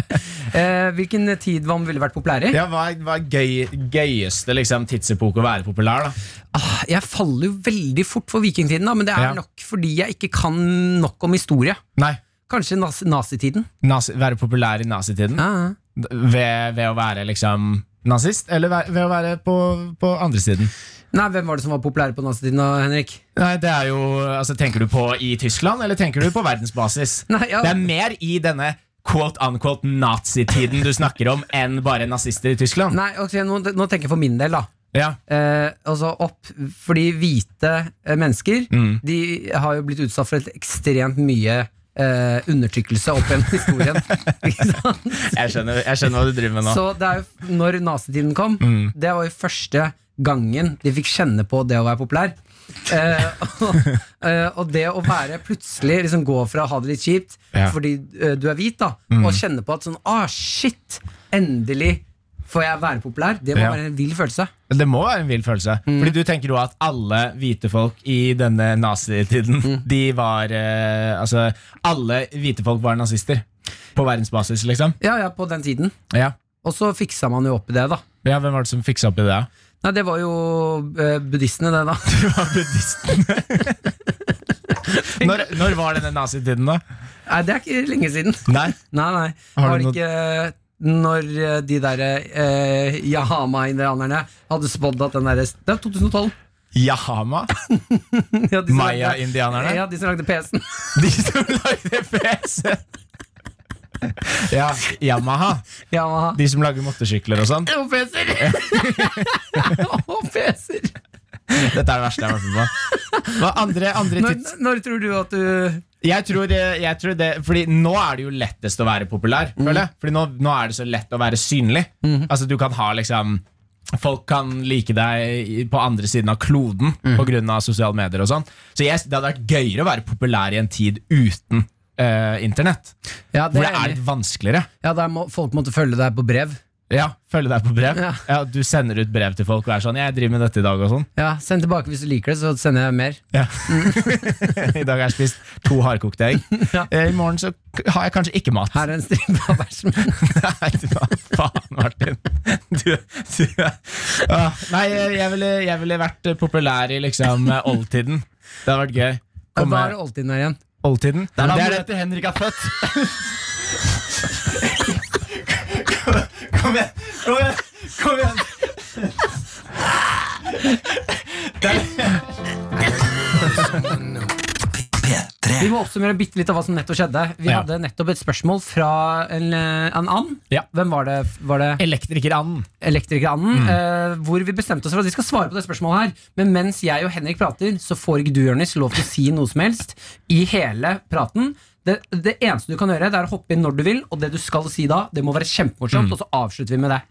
Eh, hvilken tid man ville vært populær i?
Ja, Hva er, hva er gøy, gøyeste liksom, tidsepoke å være populær, da?
Ah, jeg faller jo veldig fort for vikingtiden, da, men det er
Ja.
nok fordi jeg ikke kan nok om historie.
Nei,
Kanskje nas nazitiden.
nazi, være populær i nazitiden?
Ja, ja.
Ved, ved å være liksom nazist, eller ved, ved å være på, på andre siden?
Nei, Hvem var det som var populære på nazitiden, da, Henrik?
Nei, det er jo, altså Tenker du på i Tyskland, eller tenker du på verdensbasis?
Nei, ja.
Det er mer i denne quote-unquote nazitiden du snakker om, enn bare nazister i Tyskland.
Nei, ok, nå, nå tenker jeg for min del, da.
Ja,
Eh, altså opp, fordi hvite eh, mennesker
Mm.
De har jo blitt utsatt for et ekstremt mye eh, undertrykkelse opp gjennom
[LAUGHS]
historien. Ikke sant?
jeg skjønner, jeg skjønner hva du driver med nå. Mm.
Så det er jo når nazitiden kom, det var jo første gangen de fikk kjenne på det å være populær. Eh, [LAUGHS] og, eh, og det å være plutselig liksom gå fra å ha det litt kjipt
Ja. Mm.
fordi eh, du er hvit, da, og kjenne på at sånn Ah, shit! Endelig får jeg være populær. Det må
Ja.
være en vill følelse.
Det må være en vill følelse. Fordi du tenker jo at alle hvite folk i denne nazitiden, de var eh, Altså, alle hvite folk var nazister. På verdensbasis, liksom.
Ja, ja, på den tiden.
Ja,
Og så fiksa man jo opp i det, da.
ja Hvem var det som fiksa opp i det?
Nei, det var jo eh, buddhistene, det, da. [LAUGHS]
Det var buddhistene. når, når var denne nazitiden, da?
Nei, det er ikke lenge siden.
Nei
Nei, nei.
Har
Var
du
det
noe-
ikke når eh, de der eh, Yahama-indianerne hadde spådd at den derre Det var 2012.
Yahama?
[LAUGHS] Ja, de som lagde-
Maya-indianerne?
Ja, de som lagde PC-en. [LAUGHS]
De som lagde PC-en? Ja, Yamaha.
Yamaha.
De som lager motorsykler og sånn.
Og PC-er!
[LAUGHS]
Og PC-er!
Dette er det verste jeg har vært med på. Hva andre, andre
Når,
tids...
når tror du at du
Jeg tror, eh, jeg tror det Fordi nå er det jo lettest å være populær,
Mhm.
føler jeg. Fordi nå, nå er det så lett å være synlig. Altså, du kan ha liksom Folk kan like deg i- på andre siden av kloden På
Mhm.
grunn av sosiale medier og sånn. Så jeg, det hadde vært gøyere å være populær i en tid uten eh, internett.
Ja,
Hvor det er litt vanskeligere.
ja der må, folk måtte følge deg på brev.
Ja, følge deg på brev.
Ja.
Ja. Du sender ut brev til folk og er sånn 'Jeg driver med dette i dag' og sånn.
Ja, Send tilbake hvis du liker det, så sender jeg mer.
Ja. [LAUGHS] I dag har jeg spist to hardkokte egg.
Mm. [LAUGHS] Ja.
Eh, I morgen så k- har jeg kanskje ikke mat.
Her er en stripe av [LAUGHS] bæsjen min.
Nei, du, hva faen, Martin. Du, du ah, Nei, jeg ville, jeg ville vært eh, populær i liksom eh, oldtiden. Det hadde vært gøy.
Hva
Komme
er oldtiden her igjen?
oldtiden.
Det er da
Det er det-
Merete Henrik er født.
Kom igjen! Kom igjen! Kom igjen.
Vi må oppsummere bitte litt av hva som nettopp skjedde. Vi
Ja.
hadde nettopp et spørsmål fra en, eh, en and.
Ja.
Hvem var det? Var det
Elektrikeranden.
Elektrikeranden?
Mm.
eh, hvor vi bestemte oss for at vi skal svare på det spørsmålet her. Men mens jeg og Henrik prater, så får ikke du, Jonis, lov til å si noe som helst i hele praten. Det, det eneste du kan gjøre, det er å hoppe inn når du vil, og det du skal si da, det må være
Mm.
kjempemorsomt, og så avslutter vi med det.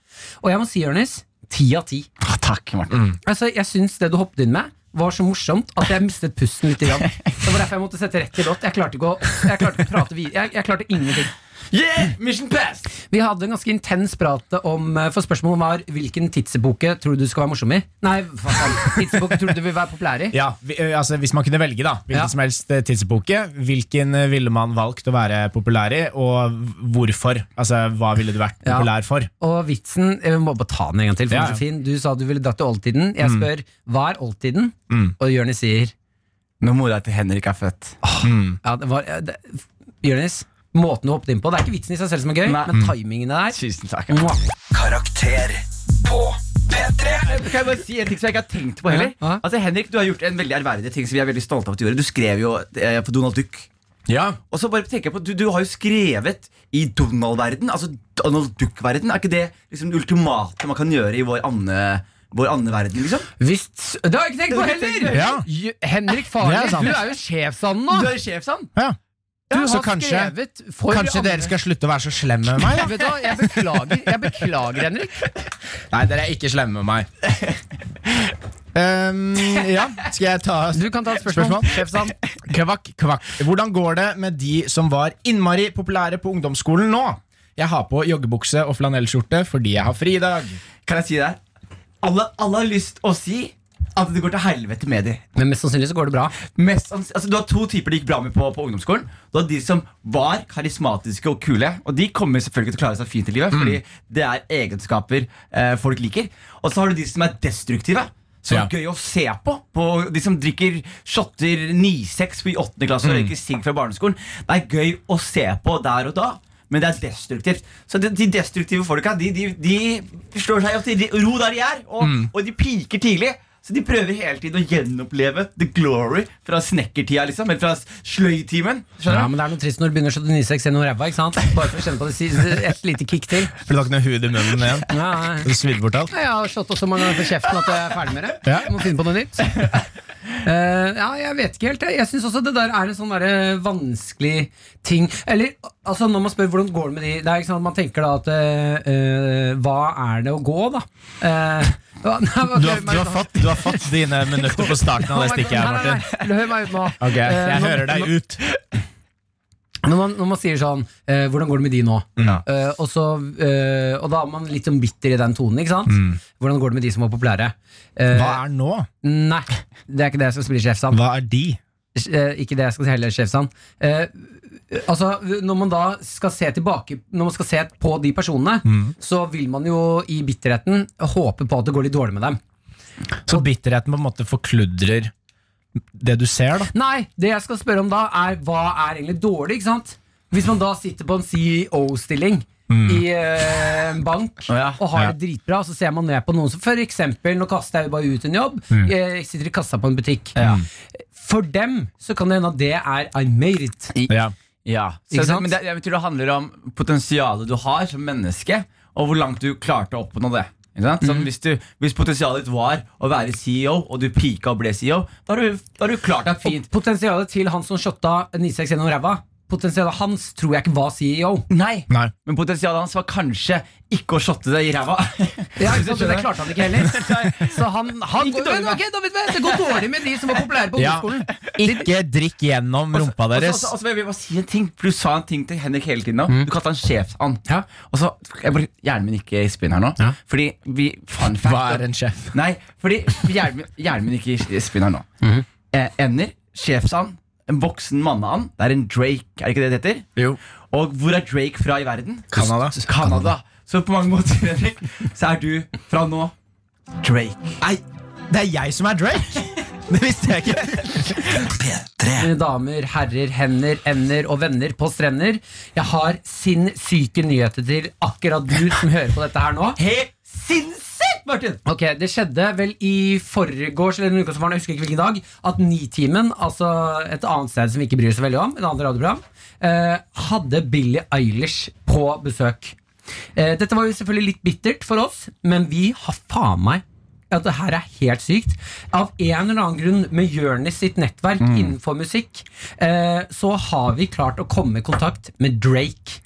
Og jeg må si, Jonis, ti av ti.
Ah, takk, Martin.
Altså, jeg syns det du hoppet inn med, var så morsomt at jeg mistet pusten litt. Grann. Det var derfor jeg måtte sette rett i låt. Jeg klarte ikke å, jeg klarte ikke å prate videre. Jeg, jeg klarte ingenting.
Yeah, mission passed!
Vi hadde en ganske intens prat om eh, For spørsmålet var hvilken tidsepoke tror du du skal være morsom i? Nei, hva faen. Tidsepoke tror du du vil være populær i?
Ja, vi, ø, altså Hvis man kunne velge da hvilken
Ja.
som helst eh, tidsepoke, hvilken eh, ville man valgt å være populær i, og hvorfor? Altså, Hva ville du vært
Ja.
populær for?
Og vitsen Jeg må bare ta den en gang til. For
Ja,
den er
ja.
så fin. Du sa du ville dratt til oldtiden. Jeg spør hva er oldtiden? Og Jonis sier
Når mora til Henrik er født.
ja, det var, ja, det, Jonis, måten du hoppet inn på Det er ikke vitsen i seg selv som er gøy,
Nei.
men timingene der.
Tusen takk.
Mwah.
Karakter på P3
Ah, Kan jeg bare si en ting som jeg ikke har tenkt på heller?
Ja.
Altså Henrik, Du har gjort en veldig ærverdig ting som vi er veldig stolte av at du gjorde. Du skrev jo eh, på Donald Duck.
Ja,
Og så bare tenker jeg på, Du, du har jo skrevet i Donald-verden. Altså Donald Duck-verden. Er ikke det liksom det ultimate man kan gjøre i vår ande, vår andeverden? liksom?
Visst, det har jeg ikke tenkt på heller!
Ja.
J- Henrik
Det
Farley,
er sant.
du er jo sjefsanden nå!
Du er sjefsand.
ja.
Du
så
har
kanskje-
skrevet for
Kanskje
andre-
dere skal slutte å være så slemme med meg? da?
Vet du hva, jeg beklager, jeg beklager Henrik.
Nei, dere er ikke slemme med meg. [LAUGHS] Um, ja, skal jeg ta
Du kan ta et spørsmål.
Spørsmål?
Sjefsand.
Kvakk, kvakk. Hvordan går det med de som var innmari populære på ungdomsskolen nå? Jeg har på joggebukse og flanellskjorte fordi jeg har fri i dag.
Kan jeg si det? Alle, alle har lyst å si at det går til helvete med dem.
Men mest sannsynlig så går det bra.
Mest, ans- altså, du har to typer det gikk bra med på, på ungdomsskolen. Du har de som var karismatiske og kule. Og de kommer selvfølgelig til å klare seg fint i livet, fordi det er egenskaper eh, folk liker. Og så har du de som er destruktive. Som
Ja.
er gøy å se på, på De som drikker shotter 9-6 i 8. klasse og røyker sigg fra barneskolen. Det er gøy å se på der og da, men det er destruktivt. Så de, de destruktive folka De, de, de slår seg opp til ro der de er, og, og de piker tidlig. Så de prøver hele tiden å gjenoppleve the glory fra snekkertida, liksom. Eller fra sløytimen.
Ja,
Skjønner du?
men det er noe trist når du begynner å skjønne unisex gjennom ræva. ikke sant? Bare for å kjenne på det si- et lite kick til.
For du har ikke noe hud i munnen [LAUGHS] igjen?
Ja, ja.
Du svidde bort alt?
Jeg har slått opp så mange ganger på kjeften at jeg er ferdig med det.
Ja.
Jeg må finne på noe
[LAUGHS]
nytt. Eh, ja, jeg vet ikke helt. jeg. Jeg syns også det der er en sånn derre vanskelig ting. Eller altså når man spør hvordan går det med de Det er ikke sånn at Man tenker da at eh, eh, Hva er det å gå, da? Eh, hva- [LAUGHS] nei, hva-
Du har, du, har fått, du har fått dine minutter på starten av det stikket
Nei,
her,
nei, nei,
Martin.
Hør meg ut nå.
[LAUGHS] Ok,
Eh,
jeg
nå-
hører deg ut.
Når man, når man sier sånn eh, Hvordan går det med de nå?
Mm.
Eh, og, så, eh, og da er man litt sånn bitter i den tonen. ikke sant? Hvordan går det med de som var populære? Eh,
Mm. Hva er nå?
Nei, det er ikke det jeg skal spille sjefsand.
Hva er de?
Eh, ikke det jeg skal si heller, sjefsand. Eh, altså, når man da skal se tilbake Når man skal se på de personene, så vil man jo i bitterheten håpe på at det går litt dårlig med dem.
Så bitterheten på en måte forkludrer det du ser, da?
Nei, det jeg skal spørre om da er hva er egentlig dårlig, ikke sant? Hvis man da sitter på en CEO-stilling i eh, en bank og har det dritbra, og så ser man ned på noen som for eksempel, nå kaster jeg jo bare ut en jobb, jeg sitter i kassa på en butikk. For dem så kan det hende at det er I made it.
Ja.
Ja. Så,
Ikke sant?
Men det, jeg tror det handler om potensialet du har som menneske, og hvor langt du klarte å oppnå det. Ikke sant?
Mhm.
Sånn, hvis, du, hvis potensialet ditt var å være CEO, og du pika og ble CEO, da har du, da har du klart deg fint.
Potensialet til han som shotta 96 gjennom ræva, potensialet hans tror jeg ikke var E CEO.
Nei,
Nei.
Men potensialet hans var kanskje ikke å shotte deg i ræva.
Ja, ikke sant? Men Det klarte han ikke heller. Så han, han
Ikke
går,
dårlig,
men, ok, da vet vi det. det går dårlig med de som var populære på
Ja.
ungdomsskolen.
Ikke drikk gjennom [LAUGHS] rumpa
Og
deres. Mhm.
så- og så- og så vil jeg bare si en ting For Du sa en ting til Henrik hele tiden. nå Du kalte han sjefsand.
Ja.
Og så jeg bare, Hjernen min ikke spinner her nå.
Ja.
Fordi vi fun fact,
Hva er en sjef?
Nei, fordi hjernen, min- hjernen min ikke spinner her nå.
Mhm.
eh, ender, sjefsand, en voksen manneand. Det er en Drake, er det ikke det det heter?
Jo.
Og hvor er Drake fra i verden?
Canada.
Canada. Så på mange måter, Henrik, så er du fra nå Drake.
Nei, det er jeg som er Drake! [LAUGHS] Det visste jeg [LAUGHS] ikke.
P3
Mine damer, herrer, hender, ender og venner på strender. Jeg har sinnssyke nyheter til akkurat du som hører på dette her nå.
Helt sinnssykt, Martin!
Ok, Det skjedde vel i forgårs eller den uka som var, jeg husker ikke hvilken dag, at Nitimen, altså et annet sted som vi ikke bryr oss så veldig om, et annet radioprogram, eh, hadde Billie Eilish på besøk. Eh, dette var jo selvfølgelig litt bittert for oss, men vi har faen meg at det her er helt sykt. Av en eller annen grunn, med Jonis sitt nettverk innenfor musikk, eh, så har vi klart å komme i kontakt med Drake.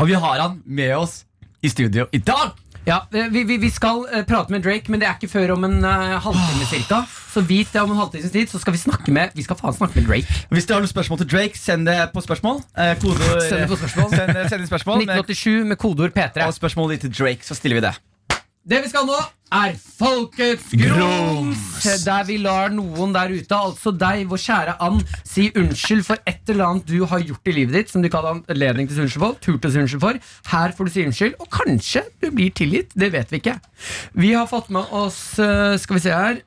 Og vi har han med oss i studio i dag.
Ja, vi, vi, vi skal eh, prate med Drake, men det er ikke før om en eh, halvtime cirka. Så vit det om en halvtimes tid, så skal vi snakke med Vi skal faen snakke med Drake.
Hvis du har noen spørsmål til Drake, send det på spørsmål. Eh, kodeord-
Send det på spørsmål.
Send, send inn spørsmål med,
1987 med kodeord P3.
og spørsmål ditt til Drake, så stiller vi det.
Det vi skal nå, er Folkets grums! Der vi lar noen der ute, altså deg, vår kjære And, si unnskyld for et eller annet du har gjort i livet ditt som du ikke hadde anledning til å si unnskyld for. Turte å si unnskyld for. Her får du si unnskyld, og kanskje du blir tilgitt. Det vet vi ikke. Vi har fått med oss, eh, skal vi se her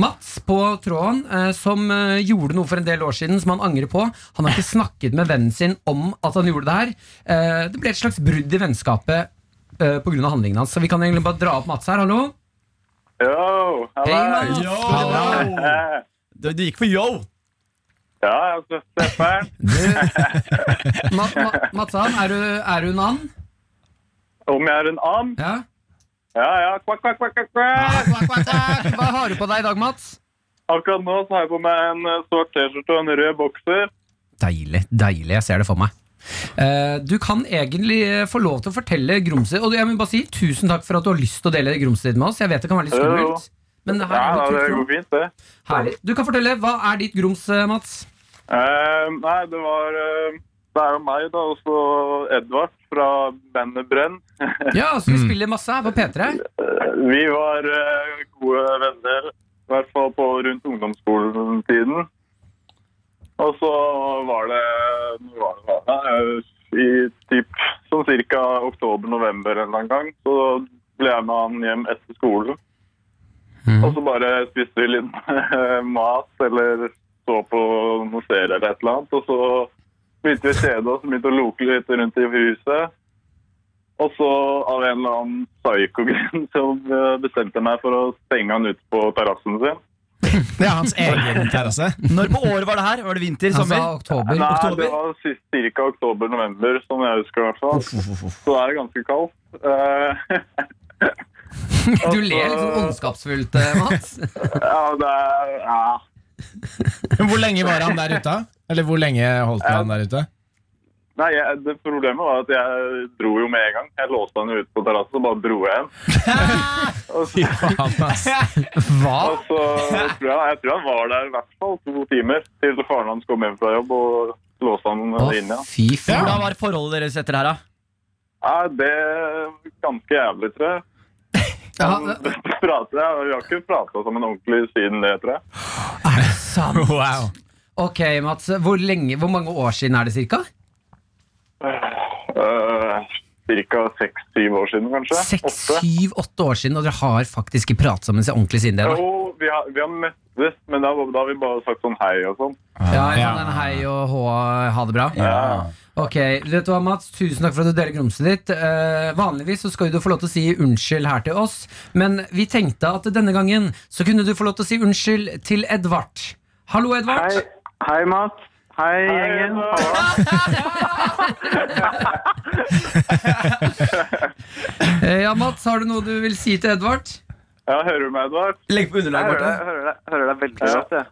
Mats på tråden, eh, som eh, gjorde noe for en del år siden som han angrer på. Han har ikke snakket med vennen sin om at han gjorde det her. Eh, det ble et slags brudd i vennskapet eh, på grunn av handlingen hans. Så vi kan egentlig bare dra opp Mats her. Hallo.
Yo,
Hei,
halla.
Mats.
Eh,
Du, du gikk for yo.
Ja, jeg har sett Stefan.
Ma Ma Matsan, er du, er du en and?
Om jeg er en and?
Ja.
Ja, ja. Kvakk, kvakk, kvakk, kvakk, kvakk.
Hva har du på deg i dag, Mats?
Akkurat nå så har jeg på meg en eh, svart T-skjorte og en rød bokser.
Deilig. Deilig. Jeg ser det for meg. Eh, du kan egentlig eh, få lov til å fortelle grumset. Og jeg vil bare si tusen takk for at du har lyst til å dele grumset ditt med oss. Jeg vet det kan være litt
Jo, jo.
skummelt. Men her,
Ja,
er det
ja, det
kult for
går
noe.
fint, det.
Herlig. Du kan fortelle. Hva er ditt grums, eh, Mats?
Eh, nei, det var eh, Det er jo meg, da, og så Edvard fra bandet Brenn.
Ja, så vi spiller masse her på P3.
Eh, vi var eh, gode venner, i hvert fall på rundt ungdomsskoletiden. Og så var det, når var det, var det Eh, i typ sånn cirka oktober-november en eller annen gang. Så ble jeg med han hjem etter skolen. Og så bare spiste vi litt [LAUGHS] eh, mat eller så på noen serier eller et eller annet. Og så begynte vi å kjede oss, begynte å loke litt rundt i huset. Og så av en eller annen psyko-grunn [LAUGHS] så eh, bestemte jeg meg for å stenge han ut på terrassen sin.
Det er hans egen terrasse.
Når på året var det her? Var det vinter?
Han sa
Sommer?
oktober.
Nei,
oktober?
det var sist- ca. oktober-november, som jeg husker i hvert fall. Så da er det ganske kaldt. Eh, [LAUGHS]
Du ler litt sånn ondskapsfullt, eh, Mats.
ja, det er ja.
Men hvor lenge var han der ute? Eller hvor lenge holdt han der ute?
Nei, jeg, det Problemet var at jeg dro jo med en gang. Jeg låste han jo ut på terrassen og bare dro
[LAUGHS]
igjen. og så,
Faen, ass.
Hva?
og så tror jeg, jeg tror han var der i hvert fall to timer til faren hans kom hjem fra jobb og låste han
Å,
inn igjen.
fy faen.
Hvordan var forholdet deres etter det her, da?
Nei, det er ganske jævlig, tror jeg.
Ja,
Han prater, ja, vi har ikke prata sammen ordentlig siden det, tror jeg.
[LAUGHS] Er det sant?
Wow.
Ok, Mats. Hvor, lenge, hvor mange år siden er det cirka?
Uh, Ca. seks-syv år siden, kanskje.
Seks,
Åtte.
syv, åtte år siden, og dere har faktisk ikke pratet sammen så ordentlig siden det. da
Jo, vi har, vi har møttes, men da, da har vi bare sagt sånn hei og sånn.
Ja, ja, den hei og hå, ha det bra.
Ja.
Ok, vet du hva, Mats? Tusen takk for at du deler grumset ditt. Eh, vanligvis så skal jo du få lov til å si unnskyld her til oss, men vi tenkte at denne gangen så kunne du få lov til å si unnskyld til Edvard. Hallo, Edvard.
hei Mats. Hei, gjengen.
Eh, ja, Mats, har du noe du vil si til Edvard?
Ja, hører du meg, Edvard?
Legg på underlag, Morten.
hører deg, veldig godt, jeg.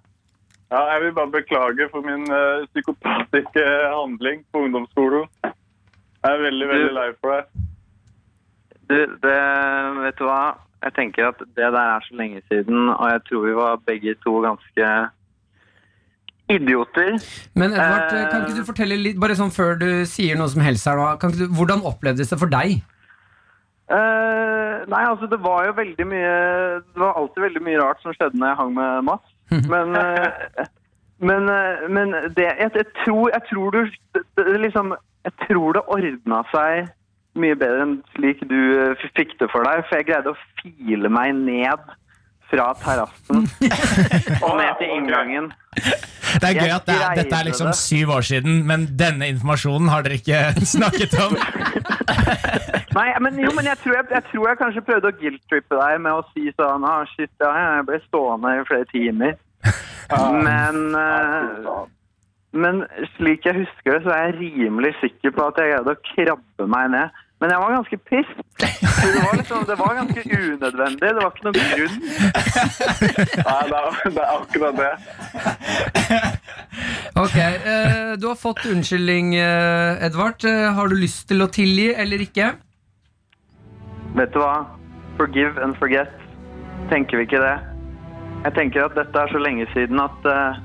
Ja, jeg vil bare beklage for min eh, psykopatiske handling på ungdomsskolen. Jeg er veldig, veldig lei for det.
Du, det, vet du hva? Jeg tenker at det der er så lenge siden, og jeg tror vi var begge to ganske idioter.
Men Edvard,
Eh.
kan ikke du fortelle litt, bare sånn før du sier noe som helst her nå, kan ikke du, hvordan opplevdes det for deg?
Eh, nei, altså det var jo veldig mye Det var alltid veldig mye rart som skjedde når jeg hang med Mats. Men, eh, men, eh, men det jeg, jeg, tror, jeg tror du det, det, liksom Jeg tror det ordna seg mye bedre enn slik du eh, f- fikk det for deg. For jeg greide å file meg ned fra terrassen og ned til inngangen.
Det er
Jeg
gøy at det er,
greide
dette er liksom
det.
syv år siden, men denne informasjonen har dere ikke [LAUGHS] snakket om.
Nei, men jo, men jeg tror jeg, jeg, tror jeg kanskje prøvde å guilt-trippe deg med å si sånn ah, shit, ja, jeg ble stående i flere
[LAUGHS]
timer. Men, eh, men slik jeg husker det, så er jeg rimelig sikker på at jeg greide å krabbe meg ned. Men jeg var ganske piss. Så Det var, liksom, det var ganske unødvendig. Det var ikke noen grunn.
[LAUGHS] Nei, det er, det er akkurat det.
Ok, eh, du har fått unnskyldning, eh, Edvard. Eh, har du lyst til å tilgi eller ikke?
Vet du hva? Forgive and forget. Tenker vi ikke det? Jeg tenker at dette er så lenge siden at eh,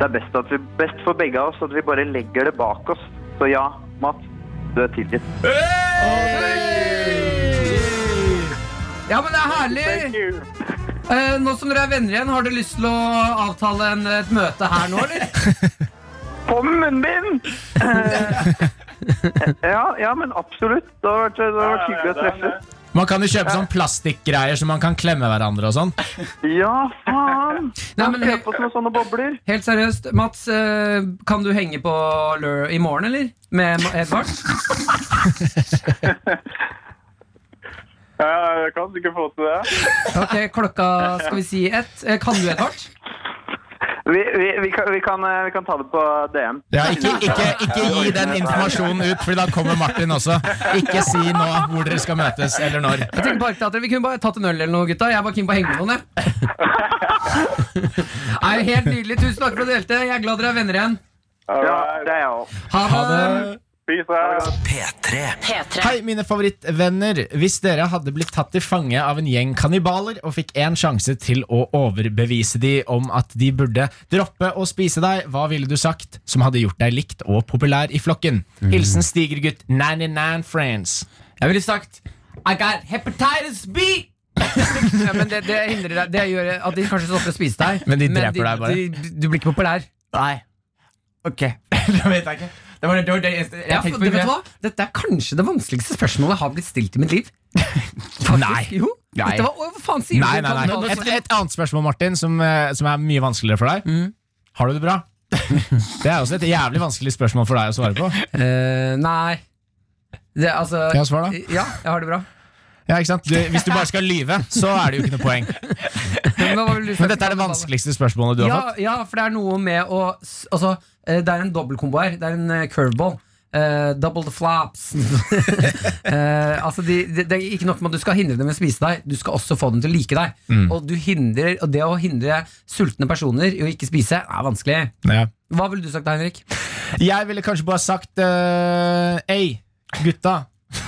det er best, at vi, best for begge av oss at vi bare legger det bak oss. Så ja, Mats, du er tilgitt.
Ja, men det er herlig! Eh, nå som dere er venner igjen, har dere lyst til å avtale en, et møte her nå,
[LAUGHS]
eller?
På med munnbind! Eh, [LAUGHS] ja, ja, men absolutt. Det har vært, det har vært hyggelig å treffes.
Man kan jo kjøpe sånn plastikkgreier som man kan klemme hverandre og sånn.
Ja, faen!
[LAUGHS] Nei, men
Se på oss med sånne bobler.
Helt seriøst, Mats, eh, kan du henge på lø i morgen, eller? Med Ma- Edvard?
Ja, jeg kan sikkert få til det.
Ok, klokka skal vi si ett. Eh, Kan du, Edvard?
Vi, vi, vi, kan, vi, kan, eh, vi kan ta det på DM.
Ja, ikke, ikke, ikke gi den informasjonen ut, Fordi da kommer Martin også. Ikke si nå hvor dere skal møtes, eller når.
Jeg tenker bare at dere- Vi kunne bare tatt en øl eller noe, gutta. Jeg er bare keen på å henge med noen, jeg.
[LAUGHS]
Nei, helt nydelig. Tusen takk for at du delte. Jeg er glad dere er venner igjen.
Ja, det er jeg òg.
Ha det.
Peace out.
P3.
P3.
Hei, mine favorittvenner. Hvis dere hadde blitt tatt til fange av en gjeng kannibaler og fikk én sjanse til å overbevise de om at de burde droppe å spise deg, hva ville du sagt som hadde gjort deg likt og populær i flokken?
Mm.
Hilsen Stigergutt 99 Friends.
Jeg ville sagt I got hepatitis B!
Ja, men det, det hindrer deg Det gjør at de kanskje stopper å spise deg.
Men de dreper deg bare.
de- du blir ikke populær.
Nei. Ok. [LAUGHS] det vet jeg ikke. Det var det, det, var det eneste jeg
Ja, for,
tenkte på.
vet du hva? Dette er kanskje det vanskeligste spørsmålet jeg har blitt stilt i mitt liv. Faktisk,
Nei.
Jo.
Nei.
Dette var, å, hva faen sier
Nei,
du?
nei, nei. Et, et annet spørsmål, Martin, som, eh, som er mye vanskeligere for deg. Har du det bra? [LAUGHS] Det er også et jævlig vanskelig spørsmål for deg å svare på.
Eh, nei. Det, altså,
Kan jeg svare, da?
Ja, jeg har det bra.
Ja, ikke sant? Du, hvis du bare skal lyve, så er det jo ikke noe poeng.
Men, hva var det du sa?
Men dette er det vanskeligste spørsmålet du har
ja,
fått.
ja, for det er noe med å s- Altså, eh, det er en dobbeltkombo her. Det er en eh, curveball. Eh, double the flaps. [LAUGHS] Eh, altså de, de, det er ikke nok med at du skal hindre dem i å spise deg, du skal også få dem til å like deg.
Mm.
Og, du hindrer, og det å hindre sultne personer i å ikke spise er vanskelig.
Ja.
Hva ville du sagt da, Henrik?
Jeg ville kanskje bare sagt uh, Ei, gutta [LAUGHS]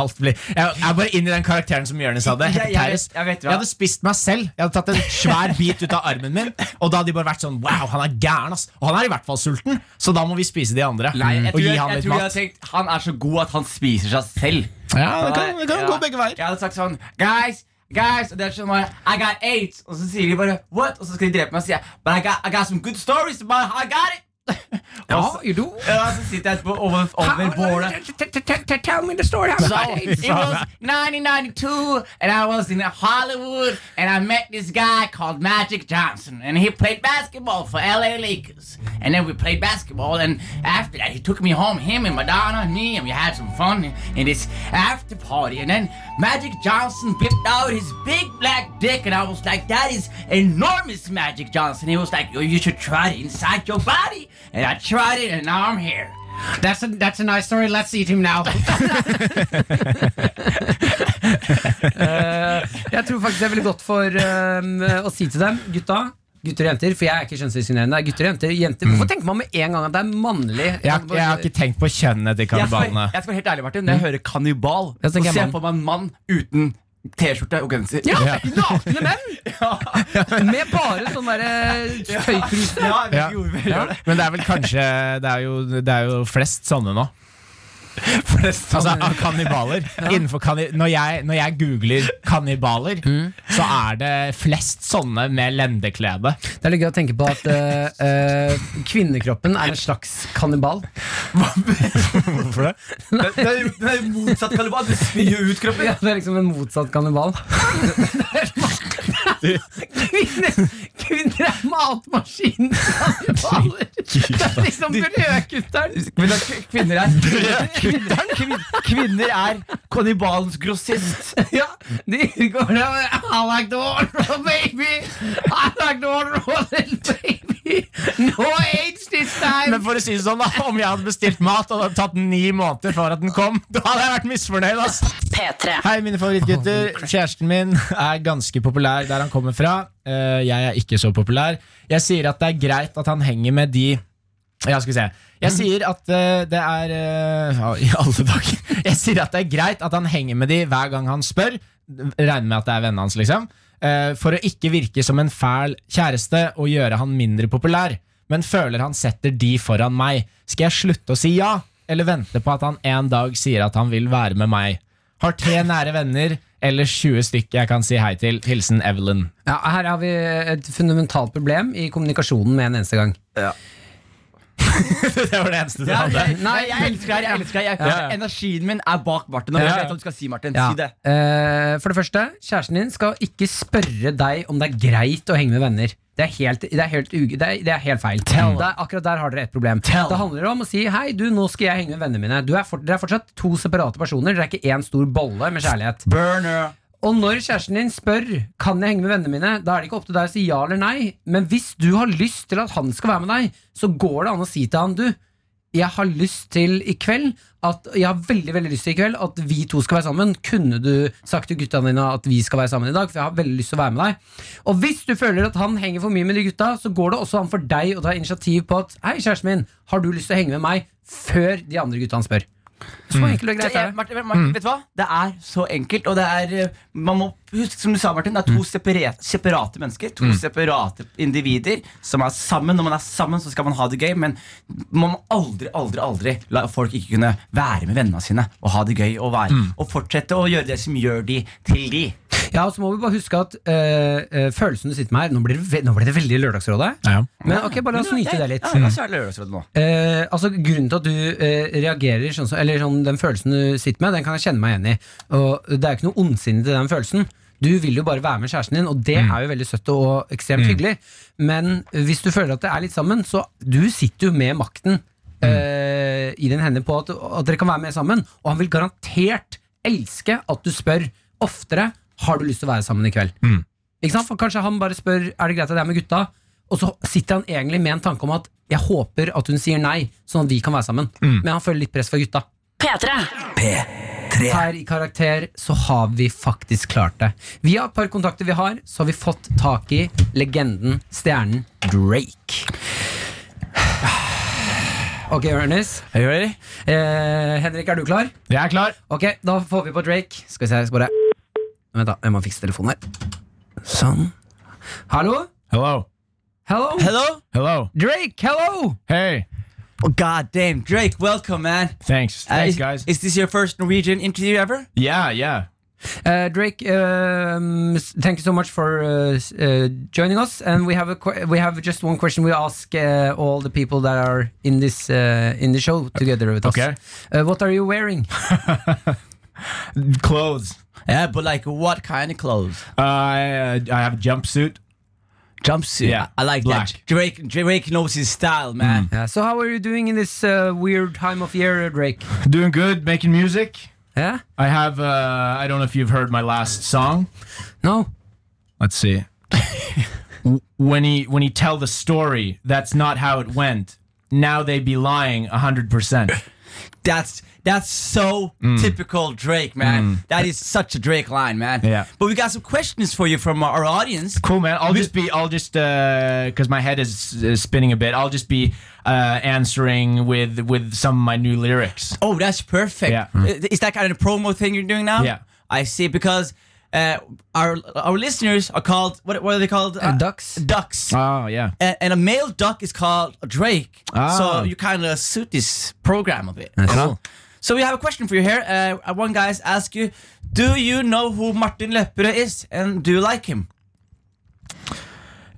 Alt blir jeg, jeg er bare inn i den karakteren som Jonis hadde.
Jeg- jeg-
Hepatitis.
jeg vet hva.
jeg hadde spist meg selv. Jeg hadde tatt en svær bit ut av armen min. Og da hadde de bare vært sånn Wow, han er gæren, ass. Og han er i hvert fall sulten, så da må vi spise de andre.
Nei, jeg
og
tror,
gi
jeg,
han
jeg,
litt
tror jeg
mat.
hadde tenkt Han er så god at han spiser seg selv.
Ja, det kan, det kan
Ja.
gå begge veier.
Jeg hadde sagt sånn Guys, guys Og det er sånn bare I got eight Og så sier de bare What? Og så skal de drepe meg Og sier jeg But I got, I got some good stories But I got it [LAUGHS]
Ja,
Og så-
gjør du?
Ja, så sitter jeg etterpå over, over bålet
Tell me the story.
So,
[LAUGHS]
it was 1992, and I was in Hollywood, and I met this guy called Magic Johnson, and he played basketball for LA Lakers. And then we played basketball, and after that, he took me home, him and Madonna, and me, and we had some fun in this after party. And then Magic Johnson whipped out his big black dick, and I was like, that is enormous, Magic Johnson. He was like, oh, you should try it inside your body. And I tried it, and now I'm here.
That's a, that's a nice story. Let's eat him now. [LAUGHS] Eh, jeg tror faktisk det er veldig godt for eh, å si til dem, gutta Gutter og jenter, for jeg er ikke kjønnsdiskriminerende. det er Gutter og jenter, jenter. Hvorfor tenker man med en gang at det Mm. er mannlig?
Jeg, har- jeg har ikke tenkt på kjønnet til kannibalene. Mm.
Jeg skal, jeg skal være helt ærlig, Martin. Når jeg hører kannibal,
Ja,
så
så tenker jeg
ser jeg
mann.
for meg en mann uten T-skjorte og genser.
Ja, [LAUGHS] nakne [LAUGHS] menn! Med bare sånn derre tøytruse.
Ja, vi
Ja.
gjorde vel det.
Men det er vel kanskje Det er jo, det er jo flest sånne nå. altså av kannibaler. Innenfor kanni når, jeg, når jeg googler kannibaler, så er det flest sånne med lendeklede.
Det er litt gøy å tenke på at eh, eh, kvinnekroppen er en slags kannibal.
Hvorfor det?
Det, det er jo- det er jo motsatt kannibal. Du spyr jo ut kroppen.
[LAUGHS] Ja, det er liksom en motsatt kannibal. [LAUGHS] Det er sånn- Kvinner, kvinner er matmaskinkannibaler! Det er liksom brødkutteren!
Men at kvinner er
[LAUGHS]
Kvin- Kvinner er kannibalens grossist.
Ja, de går der I like the water, baby! I like the water, baby! No age this time!
Men for å si det sånn da om jeg hadde bestilt mat og det hadde tatt ni måneder for at den kom, da hadde jeg vært misfornøyd. ass
P3.
Hei, mine favorittgutter. Kjæresten min er ganske populær der han kommer fra. Eh, Jeg er ikke så populær. Jeg sier at det er greit at han henger med de Ja, skal vi se. Jeg sier at eh, det er eh, ja, I alle dager. [LAUGHS] Jeg sier at det er greit at han henger med de hver gang han spør. Regner med at det er vennene hans, liksom. Eh, for å ikke virke som en fæl kjæreste og gjøre han mindre populær. Men føler han setter de foran meg. Skal jeg slutte å si ja, eller vente på at han en dag sier at han vil være med meg? Har tre nære venner, eller 20 stykker jeg kan si hei til. Hilsen Evelyn. [LAUGHS]
Ja, her har vi et fundamentalt problem i kommunikasjonen med en eneste gang.
det var det eneste du
Ja,
hadde.
jeg,
Nei.
jeg elsker deg. jeg elsker deg jeg,
Ja, ja.
Energien min er bak Martin. Og jeg
Ja, ja.
vet hva du skal si, Martin.
Ja.
Si det.
Eh, for det første, kjæresten din skal ikke spørre deg om det er greit å henge med venner. Det er helt, det er helt, uge- det er, det er helt feil. Det er, akkurat der har dere et problem. Det handler om å si hei, du, nå skal jeg henge med vennene mine. Du er fort- Dere er fortsatt to separate personer. Dere er ikke én stor bolle med kjærlighet.
Burner.
Og når kjæresten din spør Kan jeg henge med vennene mine, da er det ikke opp til deg å si ja eller nei. Men hvis du har lyst til at han skal være med deg, så går det an å si til han, du. Jeg har lyst til i kveld at, Jeg har veldig veldig lyst til i kveld at vi to skal være sammen. Kunne du sagt til gutta dine at vi skal være sammen i dag? For jeg har veldig lyst til å være med deg. Og hvis du føler at han henger for mye med de gutta, så går det også an for deg å ta initiativ på at Hei, kjæresten min, har du lyst til å henge med meg? Før de andre gutta han spør. Så enkelt og
Det
greit er
er,
det.
Martin, Martin, Vet du hva? Det er så enkelt. Og det er eh, Man må huske, som du sa, Martin, det er to separate, separate mennesker. To separate individer som er sammen. Når man er sammen, så skal man ha det gøy, men man må aldri, aldri, aldri la folk ikke kunne være med vennene sine og ha det gøy og, være, og fortsette å gjøre det som gjør de til de.
Ja, og så må vi bare huske at øh, øh, følelsen du sitter med her Nå blir det, ve nå blir det veldig Lørdagsrådet.
Ja, ja.
Men ok, bare la oss nyte det litt.
Ja, ja, så er det lørdagsrådet nå.
Eh, altså Grunnen til at du eh, reagerer sånn som Eller sånn den følelsen du sitter med, den kan jeg kjenne meg igjen i. Og det er jo ikke noe ondsinne til den følelsen. Du vil jo bare være med kjæresten din, og det er jo veldig søtt og ekstremt hyggelig. Men hvis du føler at det er litt sammen, så du sitter jo med makten eh, i din hende på at, at dere kan være med sammen. Og han vil garantert elske at du spør oftere Har du lyst til å være sammen i kveld. Ikke sant? For kanskje han bare spør Er det greit at jeg er med gutta Og så sitter han egentlig med en tanke om at Jeg håper at hun sier nei Sånn at vi kan være sammen Men han føler litt press fra gutta
P3.
her i karakter så har vi faktisk klart det. Via et par kontakter vi har, så har vi fått tak i legenden, stjernen Drake. Ok, Ernest. Eh, Henrik, er du klar?
Jeg er klar.
Ok, da får vi på Drake. Skal vi se, jeg skal bare Vent, da. Jeg må fikse telefonen her. Sånn. Hallo?
Hello.
Hello?
Hello?
Hello.
Drake, hello!
Hey.
Oh, God damn, Drake, welcome, man.
Thanks.
Uh,
Thanks,
is-
guys.
Is this your first Norwegian interview ever?
Yeah, yeah.
Uh, Drake, um, s- thank you so much for uh, s- uh, joining us. And we have a que- we have just one question we ask uh, all the people that are in this uh, in the show together with
Okay.
us. Uh, what are you wearing? [LAUGHS]
Clothes.
Yeah, but like what kind of clothes?
Uh, I, uh, I have a jumpsuit.
Jumpsuit.
Yeah,
I like
black. Mm.
that. Drake Drake knows his style, man.
Yeah, so how are you doing in this uh, weird time of year, Drake?
Doing good, making music.
Yeah.
I have. Uh, I don't know if you've heard my last song.
No.
Let's
[LAUGHS]
see. when he when he tell the story, that's not how it went. Now they be lying hundred
[LAUGHS]
percent.
That's that's so
Mm.
typical Drake, man. That is such a Drake line, man.
Yeah.
But we got some questions for you from our audience.
Cool, man. I'll just be. I'll just because my head is uh, spinning a bit. I'll just be uh, answering with with some of my new lyrics.
Oh, that's perfect.
Yeah.
Uh, Is that kind of promo thing you're doing now?
Yeah.
I see. Because uh, our our listeners are called what, what are they called? Uh,
ducks.
Ducks.
Oh yeah.
and, and a male duck is called a drake.
Ah.
So you kind of suit this program a bit. Cool. So we have a question for you here. Uh, one guy has asked you, do you know who Martin Lepperød is, and do you like him?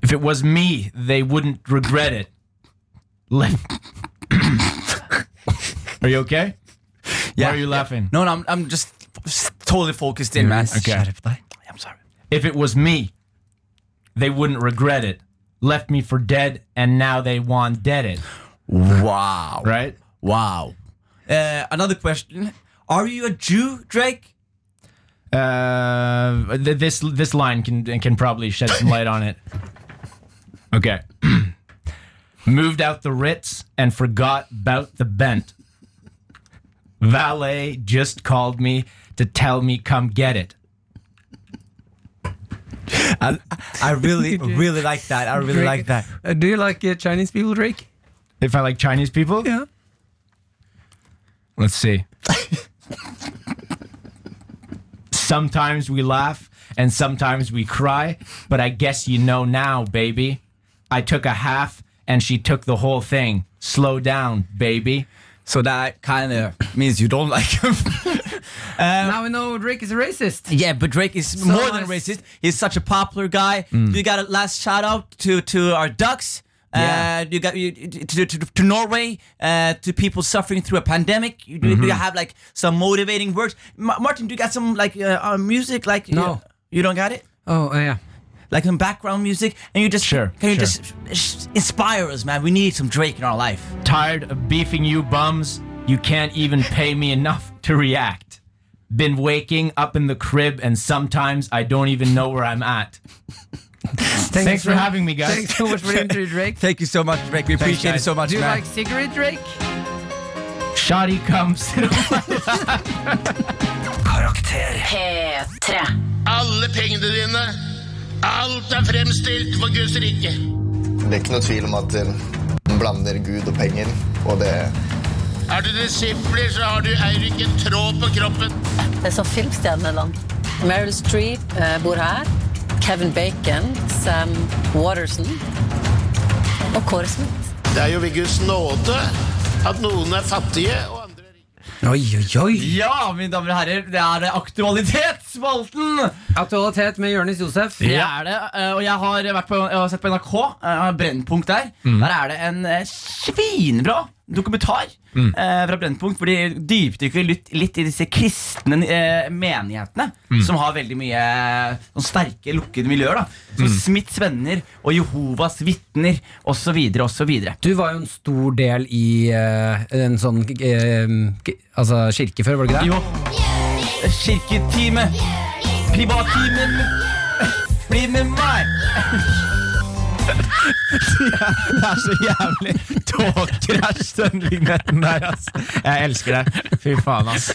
If it was me, they wouldn't regret it. Le- Are you okay? Why are you laughing?
No, no, I'm, I'm just f- totally focused in, man.
Okay.
I'm sorry.
If it was me, they wouldn't regret it. Left me for dead, and now they want dead it.
Wow.
Right?
Wow. Uh, another question. Are you a Jew, Drake?
Uh, th- this this line can can probably shed some light on it. Okay. [CLEARS THROAT] Moved out the Ritz and forgot about the bent. Valet just called me to tell me come get it.
I really, really like that. I really like that.
do you like Chinese people, Drake?
If I like Chinese people?
Yeah.
Let's see. sometimes we laugh and sometimes we cry, but I guess you know now, baby. I took a half and she took the whole thing. Slow down, baby.
So that kind of means you don't like him.
[LAUGHS]
now we know Drake is a racist.
Yeah, but Drake is more than
nice.
racist. He's such a popular guy.
Mm.
You got a last shout out to to our ducks.
Yeah.
Uh, you got you, to, to, to Norway, uh, to people suffering through a pandemic. You, do-
Mm-hmm.
Do you have like some motivating words? Ma- Martin, do you got some like uh, uh, music? Like
No.
you, you don't got it.
Oh, uh, yeah.
Like some background music, and you just
Sure,
can you
sure.
just sh- inspire us, man? We need some Drake in our life.
Tired of beefing you bums? You can't even pay me enough to react. Been waking up in the crib, and sometimes I don't even know where I'm at.
Thanks,
for having me, guys.
Thanks so much for the interview, Drake.
Thank you so much, Drake. We appreciate it
guys.
so much,
Do you
man.
like cigarette, Drake?
Shoddy comes.
Karakter.
P3.
Alle pengene dine. Alt er fremstilt for Guds rike.
Det er ikke noe tvil om at eh, man blander Gud og penger, og det
Er du disipler, så har du eier ikke en tråd på kroppen.
Det er sånn filmstjerneland. Meryl Streep eh, bor her. Kevin Bacon, Sam Waterson og Kåre Smith.
Det er jo ved Guds nåde at noen er fattige og andre
Oi, oi, oi.
Ja, mine damer og herrer, det er Aktualitetsspalten!
Aktualitet med Jonis Josef.
Det er det, eh, og jeg har, vært på, jeg har sett på NRK, eh, jeg har Brennpunkt der. Der er det en eh, svinbra dokumentar eh, fra Brennpunkt, hvor de dypdykker litt, litt i disse kristne eh, menighetene, som har veldig mye eh, sånn sterke, lukkede miljøer. da Som Smiths venner og Jehovas vitner osv. osv.
Du var jo en stor del i eh, en sånn eh, k- altså kirke før, var det ikke det?
Jo, kirketime, privattimen, bli med meg!
[LAUGHS] Det er så jævlig togkrasj, den vignetten der, ass. Jeg elsker det. Fy faen, ass.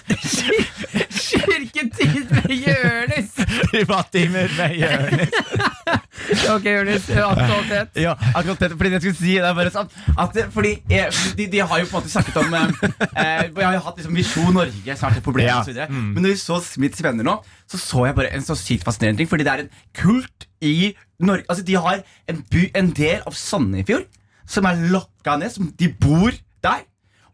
Kirketid med Jonis!
Privattimer med Jonis.
[LAUGHS] Ok, Jonis. Aktualitet.
Ja, akkurat det, fordi det jeg skulle si det er bare sånn at det, fordi eh, de, de har jo på en måte snakket om eh, eh, Jeg har jo hatt liksom Visjon Norge snart et problem
Ja.
og så videre
Mm.
Men når vi så Smiths venner nå Så så jeg bare en så sykt fascinerende ting Fordi det er en kult i Norge Altså de har en, by, en del av Sandefjord Som er lokka ned som De bor der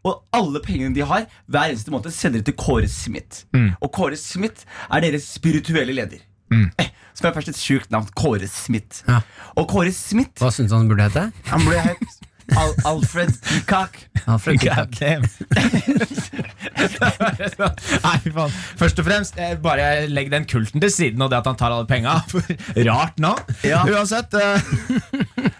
og alle pengene de har, hver eneste måned sender de til Kåre Smith.
Mm.
Og Kåre Smith er deres spirituelle leder. Eh, Som er først et sjukt navn. Kåre Smith.
Ja.
Og Kåre Smith
Hva syns du han burde hete?
han ble hett Al Alfred Peacock.
Alfred
God
Peacock.
damn. [LAUGHS] Nei, fy faen. Først og fremst, eh, bare legg den kulten til siden og det at han tar alle penga. [LAUGHS] Rart navn. Uansett. Uh,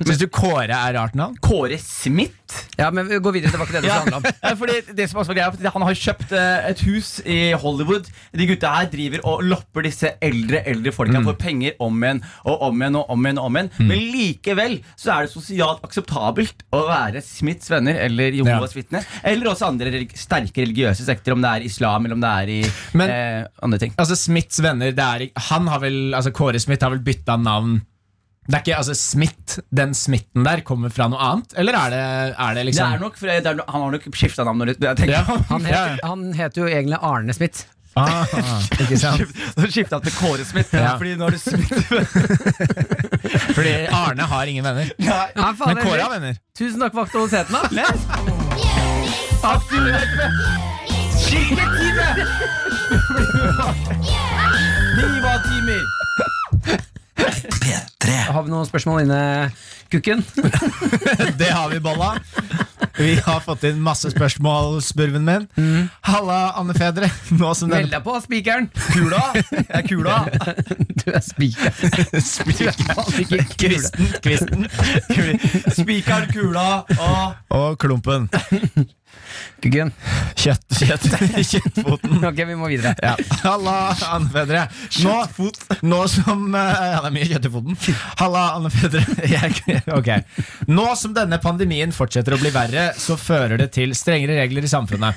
Syns du Kåre er rart navn?
Kåre Smith.
Ja, men vi går videre. Det var ikke det det
Ja,
handla om.
eh, fordi det som også var greia, fordi Han har kjøpt eh, et hus i Hollywood. De gutta her driver og lopper disse eldre eldre folka
Mm.
for penger om igjen og om igjen. og om igjen og om igjen Men likevel så er det sosialt akseptabelt å være Smiths venner eller Jehovas vitner. Eller også andre relig sterke religiøse sekter, om det er islam eller om det er i
Men-
eh, andre ting.
Altså Smiths venner det er, ikke- Han har vel, altså Kåre Smith har vel bytta navn Det er ikke, altså Smith Den smitten der kommer fra noe annet Eller er det, er det
Det
liksom
er nok, for det er, nok- Han har nok skifta navn. Når det, jeg [LAUGHS] tenker.
ja,
Han het, han het jo egentlig Arne Smith.
ah, Ikke sant
Så skifta han til Kåre Smith.
Ja.
Fordi nå er det Smith
[LAUGHS]
[LAUGHS]
Fordi Arne har ingen venner
Ja, faen,
Men Kåre har
Henrik.
venner
Tusen takk for aktualiteten, da.
Nivatimer!
P3.
Har vi noen spørsmål inne, kukken?
Det har vi bolla Vi har fått inn masse spørsmål Spurven min Halla Anne Fedre Nå som
Meld
denne
deg på, spikeren!
kula Er kula
Du er [LAUGHS] spiker.
Spikeren Kvisten, kvisten.
Spikeren, kula og
Og klumpen
Kukken.
Kjøtt, kjøtt, [LAUGHS] kjøttfoten
Ok, vi må videre.
Ja. [LAUGHS] Halla, Anne Fedre. Nå, nå som eh, Ja, det er mye kjøtt i foten. Halla, Anne Fedre. [LAUGHS] Jeg, ok. Nå som denne pandemien fortsetter å bli verre, så fører det til strengere regler i samfunnet.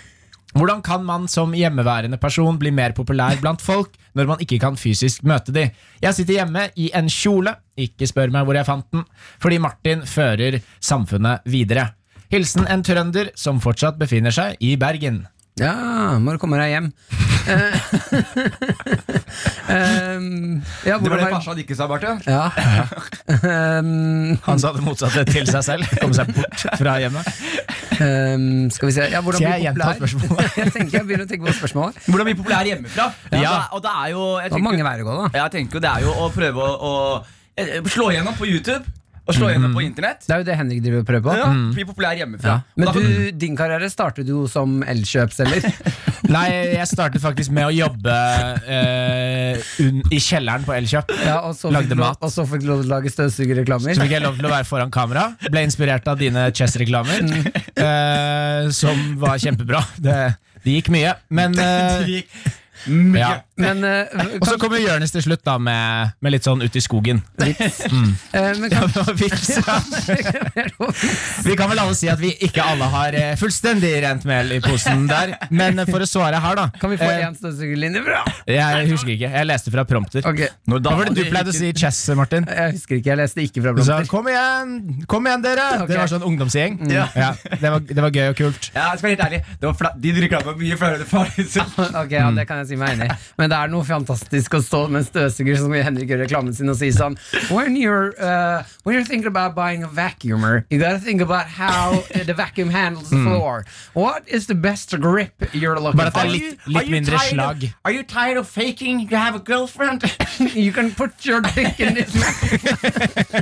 Hvordan kan man som hjemmeværende person bli mer populær blant folk når man ikke kan fysisk møte de? Jeg sitter hjemme i en kjole, ikke spør meg hvor jeg fant den, fordi Martin fører samfunnet videre. Hilsen en trønder som fortsatt befinner seg i Bergen.
Ja, må du komme deg
[LAUGHS]
hjem. Eh, um, ja,
Det var det
hvordan
farsan ikke sa, Barte.
[LAUGHS]
Ja. Um,
Han sa det motsatte til seg selv. Komme seg bort fra hjemmet.
um, skal vi se ja, Hvordan
Skal jeg
blir
gjenta
populær?
spørsmålet?
[LAUGHS] jeg tenker jeg begynner å tenke på spørsmålet.
Hvordan bli populær hjemmefra.
Ja.
da- Og det er jo jeg
Det var
tenker-
mange veier å gå, da.
Ja, Jeg tenker jo det er jo å prøve å, å eh, slå gjennom på YouTube og slå gjennom på Internett.
Det er jo det Henrik driver og prøver på.
Ja, Bli populær hjemmefra.
Men
Og da-
du, din karriere startet jo som elkjøpselger.
[LAUGHS] Nei, jeg startet faktisk med å jobbe eh, un i kjelleren på Elkjøp.
Ja, og så
Lagde
fikk du lov-
mat.
Og så fikk du lov til å lage
Så
støvsugerreklamer.
fikk jeg lov til å være foran kamera. Ble inspirert av dine Chess-reklamer, eh, som var kjempebra. Det, det gikk mye. Men eh,
Det gikk mye.
ja.
Men, eh,
Og så
kan,
kommer Jonis til slutt, da, med, med litt sånn ut i
[LAUGHS]
skogen.
eh, men kan,
Vips, ja. Vi kan vel alle si at vi ikke alle har eh, fullstendig rent mel i posen der. Men eh, for å svare her, da
kan vi få
eh,
én støvsugerlinje? Bra!
Jeg husker ikke. Jeg leste fra prompter.
Ok,
Hva
Når
var
dama
det
di
du pleide å
ikke-
si i Chess, Martin?
Jeg husker ikke, jeg leste ikke fra
Du sa
blomster.
'kom igjen, kom igjen dere'.
Ok. Mm.
Det var sånn ungdomsgjeng. Ja. det, var, det var gøy og kult.
Ja, jeg skal være helt ærlig det var fla De reklama var mye flauere enn faren sin.
[LAUGHS] Ok, ja,
Mm.
det kan jeg si meg enig i. Men det er noe fantastisk å stå med en støvsuger som Henrik gjør reklamen sin og si sånn When you're, uh, when you're thinking about buying a vacuumer, you gotta think about how uh, the vacuum handles the floor. What is the best grip you're looking
Mm. Bare at det er
for?
litt, litt mindre slag.
Are you tired of faking you have a girlfriend? [LAUGHS]
You can put your dick in this vacuum. [LAUGHS]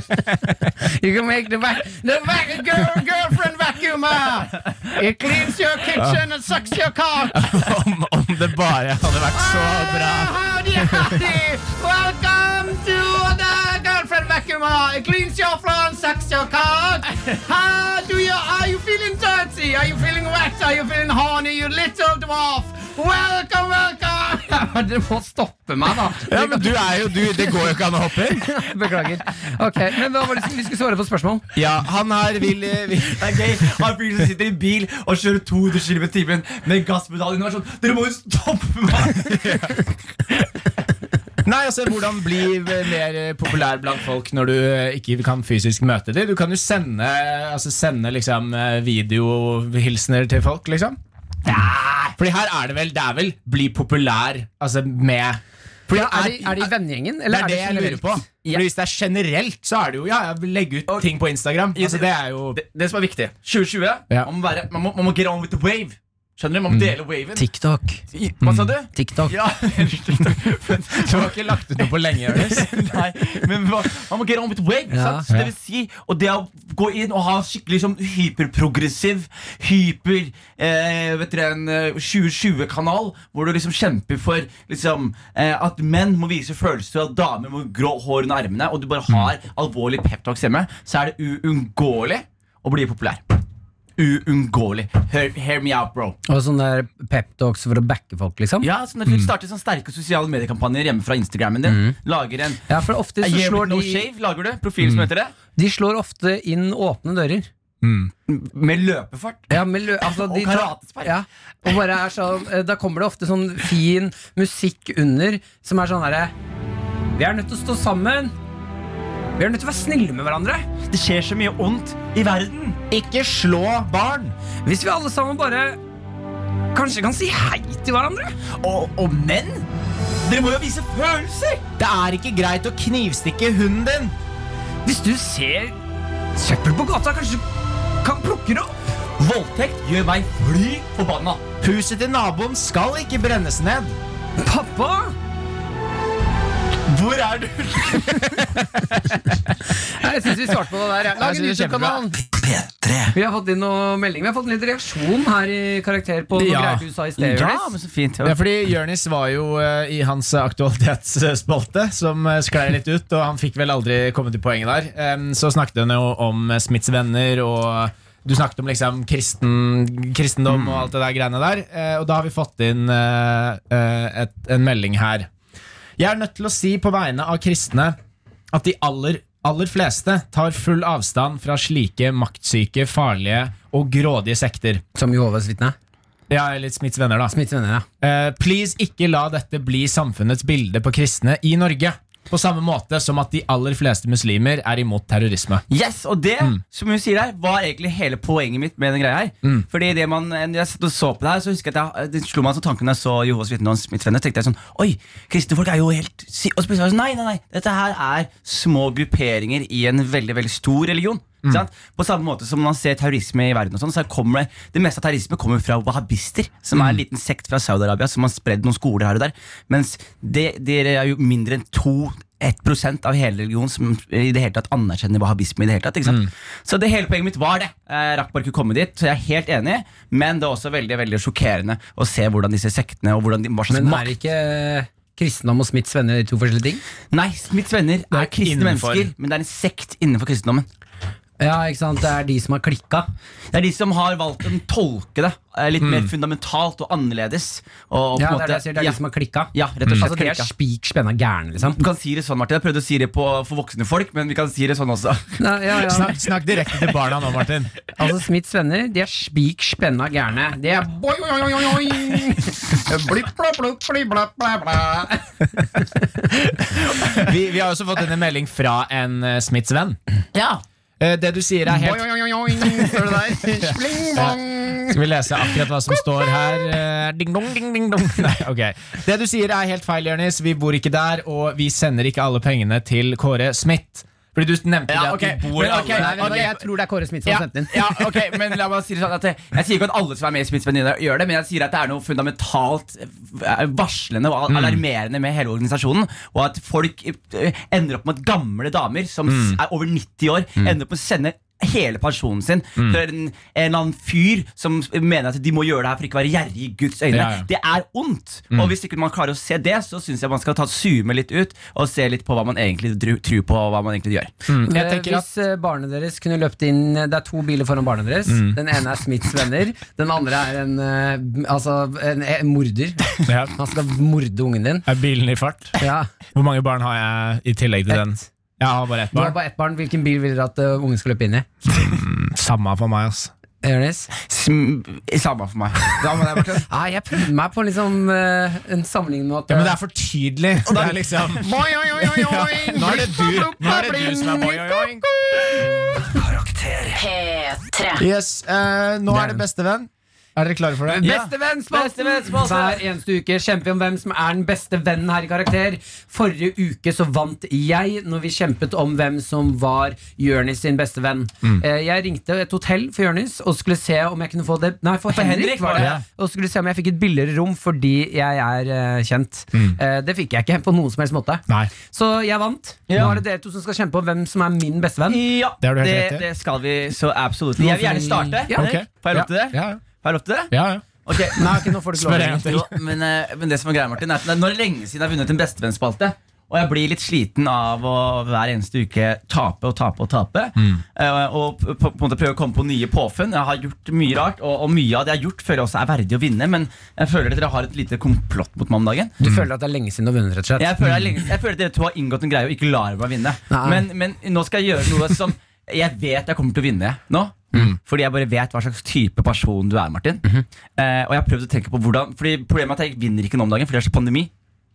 you can make the vac the vac girl girlfriend vacuumer. It cleans your kitchen and sucks your cock.
[LAUGHS] om, om det bare hadde vært så bra.
Howdy, howdy. Welcome to the girlfriend vacuumer. It cleans your floor and sucks your cock. How do you? Are you feeling dirty? Are you feeling wet? Are you feeling horny? You little dwarf. Welcome, welcome. Ja, Dere må stoppe meg, da.
Ja, men du er jo du, Det går jo ikke an å hoppe inn.
Beklager. Ok, men hva var det Vi skulle svare på spørsmål.
Ja, han her vil, eh, vil
Det er gøy. Han fyren som sitter i bil og kjører 200 km i timen med gasspedal innovasjon. sånn, Dere må jo stoppe meg! [LAUGHS]
Nei, altså, hvordan bli mer eh, populær blant folk når du eh, ikke kan fysisk møte dem? Du kan jo sende, altså, sende liksom, eh, videohilsener til folk, liksom. Fordi her er det vel Det er vel bli populær altså, med Fordi
Er de, er de i vennegjengen,
det
eller
er det jeg
er de
lurer på. Fordi Hvis det er generelt, så er det jo ja, ja, legge ut ting på Instagram. Altså, det er jo
Det, det som er
[LAUGHS]
viktig 2020
Ja.
man, må være, man, må, man må get on with the wave. Skjønner du? Man må dele waven.
TikTok.
I- Hva sa du?
TikTok.
Ja, [LAUGHS]
Du har ikke lagt ut noe på lenge, Jonis.
Nei, men hva- man må get on with the wave.
Ja.
sant? Så Det vil si, og det å gå inn og ha skikkelig sånn hyperprogressiv, hyper eh, vet dere, en eh, 2020-kanal, hvor du liksom kjemper for liksom, eh, at menn må vise følelser, og at damer må grå hår under armene, og du bare har alvorlig peptalks hjemme, så er det uunngåelig å bli populær. Uunngåelig. Hear, hear me out, bro.
Og sånne der peptalks for å backe folk, liksom.
Ja, sånn at du starter sånne sterke sosiale mediekampanjer hjemme fra Instagrammen din. Lager en
Ja, for ofte
A
så
year with
slår
no
de
shave, lager du? Profil som heter det?
De slår ofte inn åpne dører.
Med løpefart.
Ja, med lø altså,
Og
de tar-
karatespark.
Ja, og bare er sånn, eh, da kommer det ofte sånn fin musikk under, som er sånn herre Vi er nødt til å stå sammen. Vi er nødt til å være snille med hverandre.
Det skjer så mye ondt i verden.
Ikke slå barn!
Hvis vi alle sammen bare kanskje kan si hei til hverandre.
Og, og menn? Dere må jo vise følelser!
Det er ikke greit å knivstikke hunden din!
Hvis du ser søppel på gata, kanskje du kan plukke det opp?
Voldtekt gjør meg fly forbanna.
Huset til naboen skal ikke brennes ned.
Pappa!
Hvor er du?
Nei, Jeg syns vi svarte på det der. ja. Lag en
Jeg synes det er
YouTube-kanal!
P3
Vi har fått inn noe melding. Vi har fått en litt reaksjon her i karakter på noe
Ja.
greier du sa i sted. Jonis.
men så fint.
Det er fordi Jonis var jo eh, i hans aktualitetsspalte, som eh, sklei litt ut, og han fikk vel aldri komme til poenget der. Em, så snakket hun jo om eh, Smiths venner, og du snakket om liksom kristen, kristendom og alt det der greiene der. Eh, og da har vi fått inn eh, eh, et, en melding her. Jeg er nødt til å si på vegne av kristne at de aller, aller fleste tar full avstand fra slike maktsyke, farlige og grådige sekter.
Som Jehovas vitne.
Ja, eller Smiths venner, da.
Smiths venner, ja.
Eh, please ikke la dette bli samfunnets bilde på kristne i Norge. På samme måte som at de aller fleste muslimer er imot terrorisme.
Yes, Og det som hun sier der var egentlig hele poenget mitt med den greia her.
Mm.
Fordi det man, eh, når jeg satt og så på det her, så husker jeg at jeg, det slo meg som tanken da jeg så Jehovas vitner og hans venner. tenkte jeg sånn Oi, kristne folk er jo helt si Og så plutselig var jeg sånn, Nei, nei, nei. Dette her er små grupperinger i en veldig veldig stor religion. Ikke Sant? På samme måte som man ser terrorisme i verden. og sånn, så kommer Det det meste av terrorisme kommer fra wahhabister, som er en liten sekt fra Saudi-Arabia som har spredd noen skoler her og der. Mens det- dere er jo mindre enn to 1 av hele religionen som i det hele tatt anerkjenner wahhabisme. i det hele tatt, ikke sant?
Mm.
Så det hele poenget mitt var det. Jeg rakk bare ikke komme dit, så jeg er helt enig. Men det er også veldig veldig sjokkerende å se hvordan disse sektene og hvordan de, hva slags
Men
makt
er ikke eh, kristendom og Smiths venner to forskjellige ting?
Nei, Smiths venner er kristne
innenfor.
mennesker, men det er en sekt innenfor kristendommen.
Ja, ikke sant? Det er de som har klikka.
Det er de som har valgt å tolke det eh, litt mer fundamentalt og annerledes. Og,
Mm.
og på
Ja, det
en måte,
er det jeg sier. Det er
ja,
de som har klikka.
ja, rett og slett.
Altså, de er
klikka.
spik spenna gærne, liksom.
Du kan si det sånn, Martin. Jeg prøvde å si det på, for voksne folk, men vi kan si det sånn også.
Ja, ja, ja.
Snakk, snakk direkte til barna nå, Martin.
Sånn. Altså, Smiths venner de er spik spenna gærne. De er boing, boing, boing, boing, boing. Blipp, blopp, blopp, blipp, blopp, bla, bla.
Vi, vi har også fått en melding fra en eh, Smiths venn.
Ja.
Eh, Det du sier, er helt
Boing, boing, boing, boing. Ser du
[LAUGHS]
der? Sling, bong.
Skal vi lese akkurat hva som står her? Eh, Ding dong, ding ding dong. [LAUGHS] Nei, ok. Det du sier er helt feil, Jørnis. Vi bor ikke der, og vi sender ikke alle pengene til Kåre Smith. Fordi du nevnte
Ja,
det
ok.
at de bor
Men
alle
ok,
Nei, vet
der.
du hva, Jeg tror det er Kåre Smith som
Ja,
har sendt den.
ja, ok, men
[LAUGHS]
la meg si det sånn at jeg, jeg sier ikke at alle som er med i Smiths venner, gjør det, men jeg sier at det er noe fundamentalt eh, varslende og
Mm.
alarmerende med hele organisasjonen. Og at folk eh, ender opp med at gamle damer som
Mm.
s- er over 90 år, ender opp med å sende hele pensjonen sin
Mm.
til en, en eller annen fyr som s- mener at de må gjøre det her for ikke å være gjerrig i Guds øyne.
Ja, Mm. ja.
Det er ondt. Og hvis ikke man klarer å se det, så syns jeg man skal ta zoome litt ut og se litt på hva man egentlig dru- tror på, og hva man egentlig gjør.
Mm, Jeg
Eh,
tenker at
Hvis eh, barnet deres kunne løpt inn eh, Det er to biler foran barnet deres. Den ene er Smiths venner. Den andre er en, eh, altså, en, en morder.
ja,
Han skal morde ungen din.
Er bilen i fart?
Ja.
Hvor mange barn har jeg i tillegg til den? Jeg har bare ett
Du har
barn.
bare ett barn. Hvilken bil vil dere at eh, ungen skal løpe inn i?
Samme for meg, ass.
Jonis?
Sm samme for meg. Da må jeg bare
[LAUGHS] Nei, jeg prøvde meg på liksom, eh, en sammenligning med at
Ja, men det er for tydelig. Det er [LAUGHS] liksom
Boing, boing, boing, boing,
Ja, Nå er det du, nå er det du som er boing, boing, boing.
P3.
Yes, eh, nå er det bestevenn. Er dere klare for det?
Bestevennsspalten! Hver eneste uke kjemper vi om hvem som er den beste vennen her i Karakter. Forrige uke så vant jeg når vi kjempet om hvem som var Jonis sin beste venn. Eh, Jeg ringte et hotell for Jonis og skulle se om jeg kunne få det Nei, for Henrik, var det.
ja.
Og skulle se om jeg fikk et billigere rom fordi jeg er eh, kjent. Eh, Det fikk jeg ikke på noen som helst måte.
Nei.
Så jeg vant. Nå er det dere to som skal kjempe om hvem som er min beste venn.
Ja,
Det har du helt rett i.
det, det skal vi så absolutt. Jeg vil gjerne starte.
Ja.
Ok.
Får jeg lov til det?
Ja, ja.
Får jeg lov til det?
ja, ja.
Ok.
Nei, ok, nå får du ikke lov
Spør en
lenger.
til.
Jo, men, eh, men det som er greia, Martin, er at det er nå lenge siden jeg har vunnet en bestevennsspalte. Og jeg blir litt sliten av å hver eneste uke tape og tape og tape.
Mm.
Eh, og på, på en måte prøve å komme på nye påfunn. Jeg har gjort mye rart, og, og mye av det jeg har gjort, føler jeg også er verdig å vinne. Men jeg føler at dere har et lite komplott mot meg om dagen.
Du føler at det er lenge siden du har vunnet, rett og slett.
Jeg føler, jeg, lenge- jeg føler at dere to har inngått en greie og ikke lar meg vinne.
Nei.
Men, men nå skal jeg gjøre noe som jeg vet jeg kommer til å vinne nå.
Mm.
Fordi jeg bare vet hva slags type person du er, Martin.
Mhm.
eh, og jeg har prøvd å tenke på hvordan Fordi Problemet er at jeg vinner ikke nå om dagen, for det er så pandemi.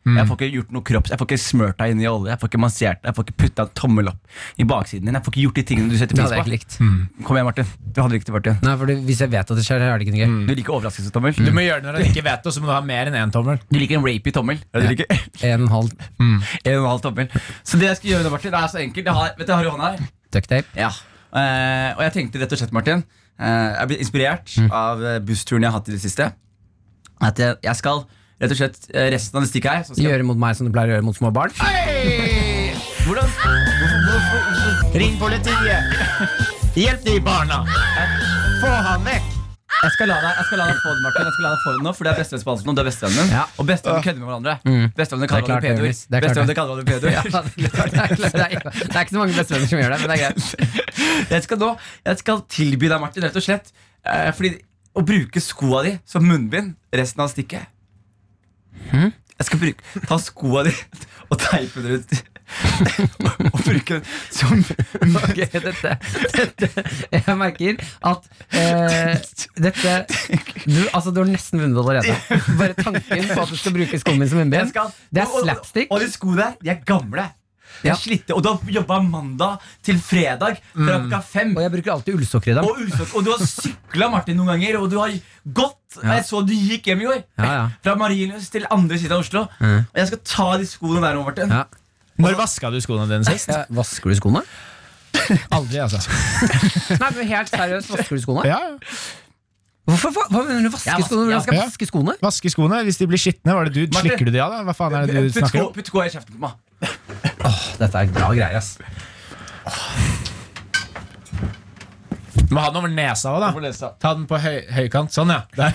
Mm.
Jeg får ikke gjort noe kropps Jeg får ikke smurt deg inn i olje, jeg får ikke massert deg, jeg får ikke putta en tommel opp i baksiden din. Jeg får ikke gjort de tingene du setter
Det hadde jeg ikke
pris på.
likt.
Kom igjen, Martin. Du hadde ikke det, Martin.
Nei, for hvis jeg vet at det skjer, er det ikke noe gøy.
Du liker overraskelse, tommel.
Mm.
Du må gjøre det når han ikke vet det, og så må du ha mer enn én tommel.
Du liker en rapey tommel. Du liker
En og en halv
[LAUGHS] en og en halv tommel. Så det jeg skal gjøre nå, Martin, det er så enkelt. Jeg har, vet du, jeg har i hånda her.
ducktape.
Ja. Eh, og jeg tenkte rett og slett, Martin eh, Jeg ble inspirert
Mm.
av eh, bussturen jeg har hatt i det siste. At jeg, jeg skal rett og slett eh, resten av det stikket her så skal jeg-
Gjøre mot meg som du pleier å gjøre mot små barn.
Hvordan?
Ring politiet! Hjelp de barna! Få han vekk!
Jeg skal la deg, jeg skal la deg få det, Martin. Jeg skal la deg få det nå, For det er bestevennsspalten, og du er bestevennen min.
Ja. Mm.
Og bestevenner kødder med hverandre. Bestevennene
Det er
kaller
klart,
hverandre pedoer.
Jonis. Det er klart,
Bestevenner
det.
kaller hverandre pedoer.
[LAUGHS] Ja, det, er klart, det, er klart, det, er, ikke- det er ikke så mange bestevenner som gjør det, men det er greit.
Jeg skal nå Jeg skal tilby deg, Martin, rett og slett eh, Fordi å bruke skoa di som munnbind resten av stikket
Hm?
Jeg skal bruke Ta skoa di og teipe den ut. [LAUGHS] og, og bruke den som
Ok, dette, dette Jeg merker at eh, dette du, Altså, du har nesten vunnet allerede. Bare tanken på at du skal bruke skummen som
Jeg
munnbind.
skal-
Det er
og- og-
slapstick.
Og de skoene der, de er gamle. Jeg slitte, og du har jobba mandag til fredag fra klokka fem.
Mm. Og jeg bruker alltid ullsokker i dem.
Og, ullsokker, og du har sykla, Martin, noen ganger, og du har gått. og Jeg så du gikk hjem i går.
Ja, ja.
Fra Marienlyst til andre siden av Oslo.
Mm.
Og jeg skal ta de skoene der nå, Martin.
Ja.
Når vaska du skoene dine sist?
Ja, Vasker du skoene?
Aldri, altså.
Nei, men helt seriøst, vasker du skoene?
[LAUGHS] Ja, ja.
Hvorfor, hva, hva mener du
Ja,
vaske
vas-
skoene? Hvordan skal jeg
ja.
vaske skoene?
Vaske skoene hvis de blir skitne. Var det du?
Martin.
Slikker du de av, da? Hva faen er det du
Putt
snakker
sko-
om?
putt skoa i kjeften på meg.
Dette er bra greier, ass.
Må ha den over nesa òg, da. Ta den på høy, høykant. Sånn, ja. Der.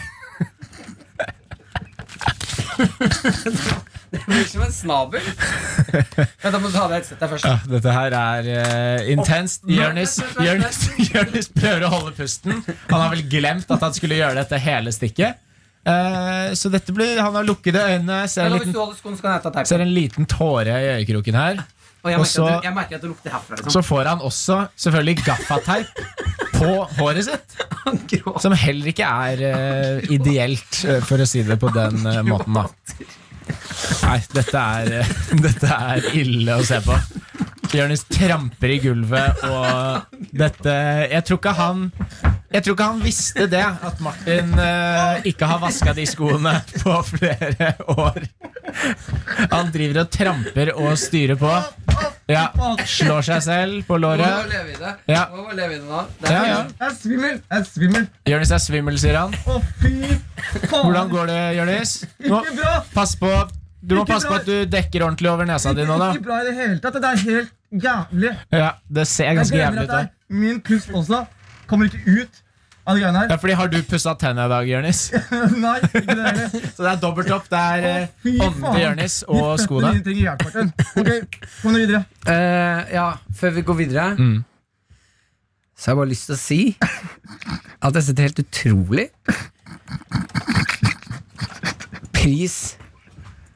Det blir som en snabel. Vent, da må du ta deg et sett deg først.
Ja, dette her er eh, intenst.
nei,
Jonis
vent, vent, vent,
Jonis- Jonis prøver å holde pusten. Han har vel glemt at han skulle gjøre dette hele stikket. Eh, så dette blir Han har lukkede øyne, ser en
Eller hvis
liten,
du holder skoen, så kan jeg ta
ser
teipen.
en liten tåre i øyekroken her.
Og jeg
og
merker,
så-
at, det- jeg merker at det lukter herfra. Liksom.
Så får han også selvfølgelig gaffateip på håret sitt.
[LAUGHS]
Som heller ikke er eh, ideelt, eh, for å si det på den eh, måten, da. Nei, dette er, eh, [LAUGHS] dette er ille å se på. Jonis tramper i gulvet, og dette Jeg tror ikke han jeg tror ikke han visste det, at Martin eh, ikke har vaska de skoene på flere år. Han driver og tramper og styrer på. Ja, Slår seg selv på låret.
leve i det.
Ja.
Må bare leve i det nå. Det
Ja, ja.
Jeg er svimmel! Jeg er svimmel!
Jonis er svimmel, sier han.
Å, fy faen!
Hvordan går det, Jonis? Nå,
Ikke bra!
Pass på Du må
Ikke
passe på
bra.
at du dekker ordentlig over nesa di nå, da.
Ikke bra i det hele tatt. Det er helt jævlig.
Ja, Det ser
Jeg
ganske
glemmer
jævlig
at
ut.
det
da
er min pust også. Kommer ikke ut av de greiene
Ja,
her.
fordi Har du pussa tennene i dag, Jonis?
Nei, ikke det heller.
[LAUGHS] Så det er dobbelt opp. Det er eh,
Fy
ånden til Jonis og
De føttene
skoene.
[LAUGHS] dine trenger hjelp, Martin. Ok, kom nå videre.
Eh, ja, før vi går videre
Mm.
Så har jeg bare lyst til å si At jeg setter helt utrolig Pris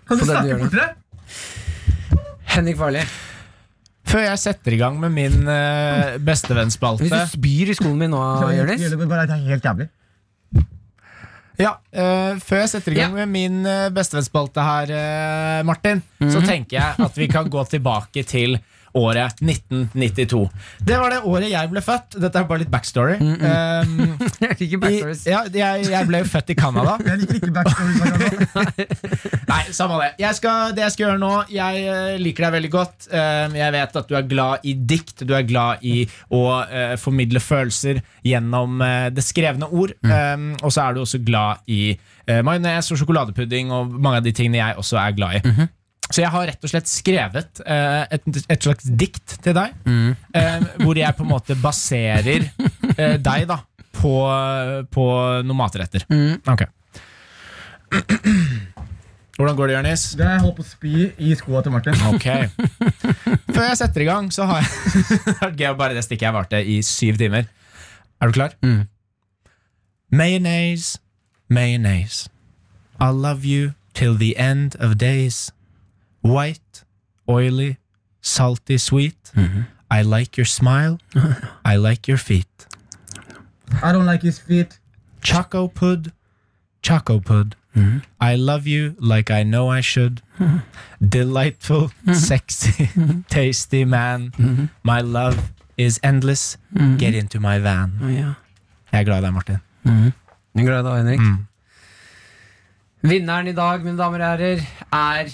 Kan
På
du
det du
snakke
gjør nå.
fortere?
Henrik Farley
Før jeg setter i gang med min eh,
Hvis
bestevennspalte
du spyr i skolen min nå, Jonis
Det bare- det er helt jævlig.
Ja, eh, Før jeg setter i gang
Ja.
med min uh, bestevennspalte her, eh, Martin,
Mhm.
så tenker jeg at vi kan gå tilbake til året 1992. Det var det året jeg ble født. Dette er bare litt backstory. Eh,
Jeg [LAUGHS] liker Mhm. backstories.
I, ja, jeg, jeg ble jo født
[LAUGHS]
i Canada.
Jeg liker ikke backstory. Martin.
Nei, samme det. Jeg skal, det jeg skal gjøre nå Jeg eh, liker deg veldig godt. Eh, jeg vet at du er glad i dikt. Du er glad i å eh, formidle følelser gjennom eh, det skrevne ord. Eh, og så er du også glad i uh, majones og sjokoladepudding og mange av de tingene jeg også er glad i. Så jeg har rett og slett skrevet eh, et, et slags dikt til deg, eh, hvor jeg på en måte baserer eh, deg da på, på noen matretter. Ok. Hvordan går det, Jonis?
Det er jeg holdt på å spy i skoa til
[LAUGHS]
Martin.
Ok. Før jeg setter i gang, så har jeg [LAUGHS] Det er gøy å bare det stikket jeg varte i syv timer. Er du klar?
Mm.
Mayonnaise, mayonnaise. I love you till the end of days. White, oily, salty, sweet. I like your smile. I like your feet.
I don't like his feet.
Choco pud, choco pud. I love you like I know I should. Delightful, sexy, [LAUGHS] tasty man. My love is endless. Get into my van.
ja.
Jeg er glad i deg, Martin.
Jeg er glad i deg, Henrik
Mm.
Vinneren i dag, mine damer og herrer Er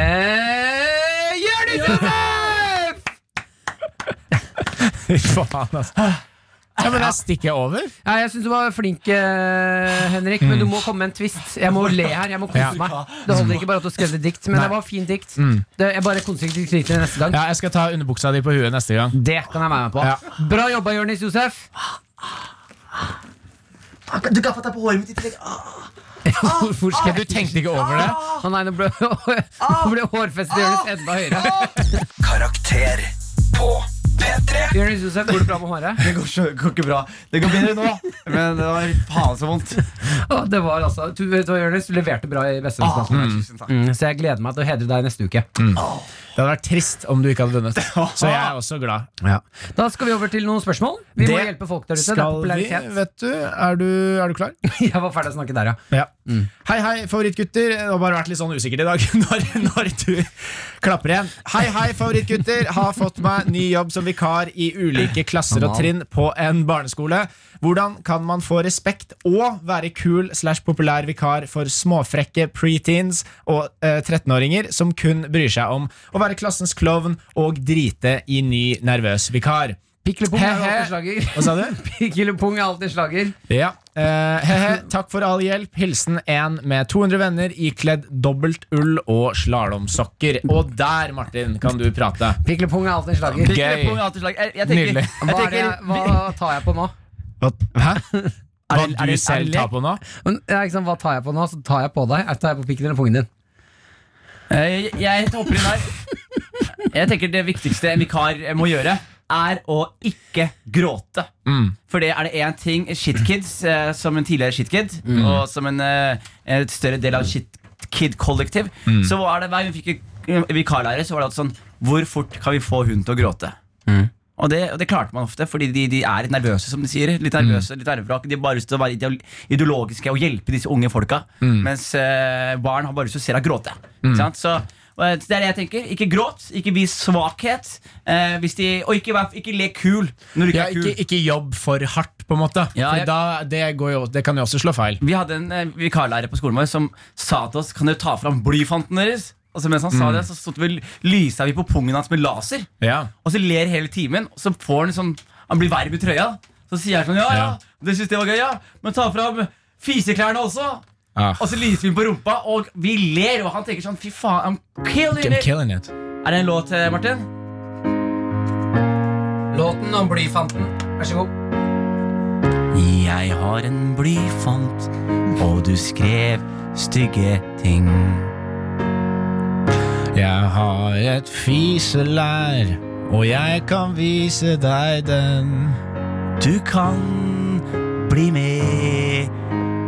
Hei, Jørgen Josef!
[LAUGHS] Fy faen, altså. Ja, men da stikker jeg over.
Ja, jeg syns du var flink, eh, Henrik, men du må komme med en twist. Jeg må le her. jeg må kose
Mm.
meg
Ja.
Det holder ikke bare at du skrev et dikt, men
Nei. Mm.
det var fint dikt. Det, jeg bare konstruktivt kritikker det neste gang.
Ja, jeg skal ta underbuksa di på huet neste gang.
Det kan jeg være med på.
Ja.
Bra jobba, Jonis Josef.
Ah,
Du gaffet deg på håret mitt i tillegg.
Hvorfor skal
Du tenkte ikke over det?
Å nei, nå ble, [LAUGHS]
Ah.
nå ble hårfestet Jonis enda høyere.
Karakter på
Ah.
P3 Jonis Josef, går det bra med håret? [LAUGHS]
Det går, så, går ikke bra. Det går bedre nå, men det var faen så vondt.
Å, det var altså Du, vet du, hva, Jonis, du leverte bra i beste
Ah, Mm.
resultat.
tusen takk.
Mm, så jeg gleder meg til å hedre deg neste uke.
Det hadde vært trist om du ikke hadde [LAUGHS] vunnet. Så jeg er også glad.
Da skal vi over til noen spørsmål. Vi må
Det
hjelpe folk der ute. Det er
Skal vi,
popularitet. [LAUGHS]
vet du er, du er du klar?
Jeg var ferdig å snakke der, ja.
Ja. Hei, hei, favorittgutter. Det har bare vært litt sånn usikkert i dag [LAUGHS] når, når du klapper igjen. Hei, hei, favorittgutter. Har fått meg ny jobb som vikar i ulike klasser og trinn på en barneskole. Hvordan kan man få respekt og være kul slash populær vikar for småfrekke preteens og eh, 13-åringer som kun bryr seg om å være klassens klovn og drite i ny nervøs vikar?
Pikkelepung er
He-he.
alltid slager. [LAUGHS]
Hva sa du?
Pikkelepung er alltid slager.
Ja. Eh, hehe, takk for all hjelp. Hilsen en med 200 venner ikledd dobbelt ull og slalåmsokker. Og der, Martin, kan du prate.
Pikkelepung er alltid slager.
Pikkelepung er
Gøy.
alltid slag. Jeg, jeg tenker,
Nydelig.
Jeg
Hva, er det,
tenker
jeg- hva tar jeg på nå?
Hva, hæ? Hva
det- er
du
det- er
selv
det
tar på nå?
Men, ja, ikke sant, hva tar jeg på nå? Så tar jeg på deg. Jeg tar jeg på pikken eller pungen din?
Eh, Jeg, jeg hopper inn der. Jeg tenker Det viktigste en vikar må gjøre, er å ikke gråte. For det er det én ting shitkids, eh, som en tidligere shitkid, og som en eh, et større del av shitkid-kollektiv, så var det hver gang vi fikk en vikarlærer, så var det alltid sånn Hvor fort kan vi få hun til å gråte? Og det, og det klarte man ofte, fordi de, de er litt nervøse, som de sier. Litt nervøse, litt arvevrak. De har bare lyst til å være ideol- ideologiske og hjelpe disse unge folka. Mens eh, barn har bare lyst til å se deg gråte. Ikke sant? Så eh, det er det jeg tenker. Ikke gråt, ikke vis svakhet. eh, hvis de, og ikke, vær, ikke le kul når du ikke
Ja,
er kul.
ikke, ikke jobb for hardt, på en måte.
Ja,
for
jeg-
da, det, går jo, det kan jo også slå feil.
Vi hadde en eh, vikarlærer på skolen vår som sa til oss Kan dere ta fram blyfanten deres. Og så mens han sa det, så stod vi, lysa vi på pungen hans med laser.
Ja.
Og så ler hele timen, og så får han sånn Han blir varm i trøya. Så sier jeg sånn Ja, ja,
Ja.
du syns det var gøy, ja? Men ta fram fiseklærne også.
Ah.
Og så lyser vi på rumpa, og vi ler, og han tenker sånn Fy faen, I'm killing
I'm
it.
killing it.
Er det en låt, eh, Martin?
Låten om blyfanten. Vær så god.
Jeg har en blyfant, og du skrev stygge ting.
Jeg har et fiselær, og jeg kan vise deg den.
Du kan bli med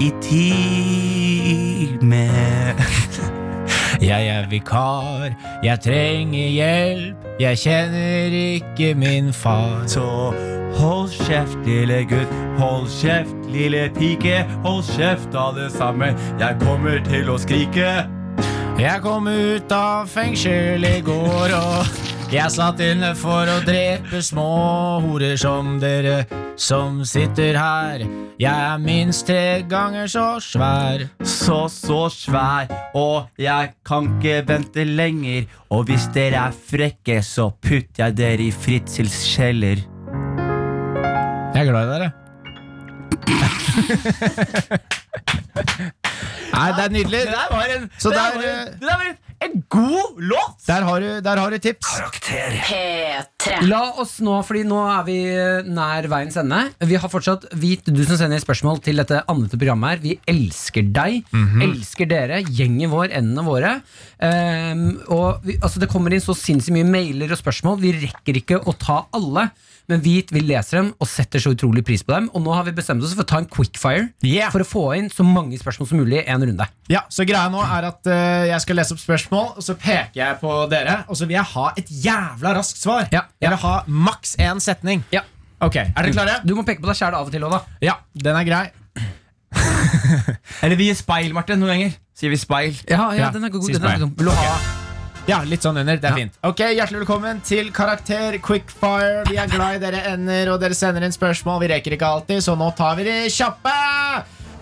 i time.
Jeg er vikar, jeg trenger hjelp, jeg kjenner ikke min far.
Så hold kjeft, lille gutt. Hold kjeft, lille pike. Hold kjeft, alle sammen. Jeg kommer til å skrike.
Jeg kom ut av fengsel i går, og jeg satt inne for å drepe små horer som dere som sitter her. Jeg er minst tre ganger så svær.
Så, så svær, og jeg kan ikke vente lenger. Og hvis dere er frekke, så putter jeg dere i Fritzels kjeller.
Jeg er glad
[LAUGHS]
i dere. Nei, det er nydelig.
Det der var en,
Så
det
der,
der var en,
eh,
det der var en, en god låt!
Der har du, der har du tips.
P3.
La oss nå, fordi nå er vi nær veiens ende. Vi har fortsatt Vit du som sender spørsmål til dette andete programmet her. Vi elsker deg. Elsker dere. Gjengen vår. Endene våre. Ehm, og vi, altså Det kommer inn så sinnssykt mye mailer og spørsmål. Vi rekker ikke å ta alle. Men Vit vi leser dem og setter så utrolig pris på dem. Og nå har vi bestemt oss for å ta en quickfire
Yeah.
for å få inn så mange spørsmål som mulig i en runde.
Ja, så greia nå er at eh, Jeg skal lese opp spørsmål, og så peker jeg på dere. Og så vil jeg ha et jævla raskt svar.
Ja, ja.
Jeg vil ha maks én setning.
Ja.
Ok, Er dere klare?
Du må peke på deg sjæl av og til òg, da.
Ja, den er grei.
Eller vi gir speil, Martin, noen ganger. Sier vi speil.
Ja, ja,
Ja,
den er god.
sist
Den er
meg.
god. Vil du ha
Ja, litt sånn under. Det er
Ja.
fint. Ok, Hjertelig velkommen til Karakter Quickfire. Vi er glad i dere ender, og dere sender inn spørsmål. Vi rekker ikke alltid, så nå tar vi de kjappe.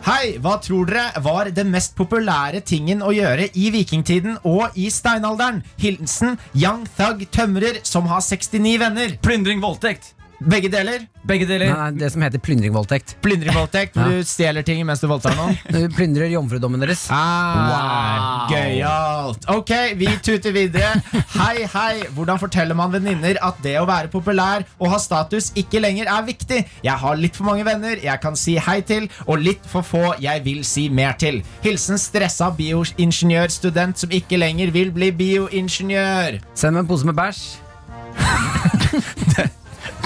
Hei, hva tror dere var den mest populære tingen å gjøre i vikingtiden og i steinalderen? Hilsen Young Thug Tømrer, som har 69 venner.
Plyndring, voldtekt.
Begge deler.
Begge deler.
Nei, det som heter plyndringvoldtekt?
Plyndringvoldtekt,
Ja.
hvor du stjeler ting mens du voldtar noen.
Du plyndrer jomfrudommen deres.
Ah, Gøyalt. Ok, vi tuter videre. Hei, hei. Hvordan forteller man venninner at det å være populær og ha status ikke lenger er viktig? Jeg har litt for mange venner jeg kan si hei til, og litt for få jeg vil si mer til. Hilsen stressa bioingeniørstudent som ikke lenger vil bli bioingeniør.
Send meg en pose med bæsj.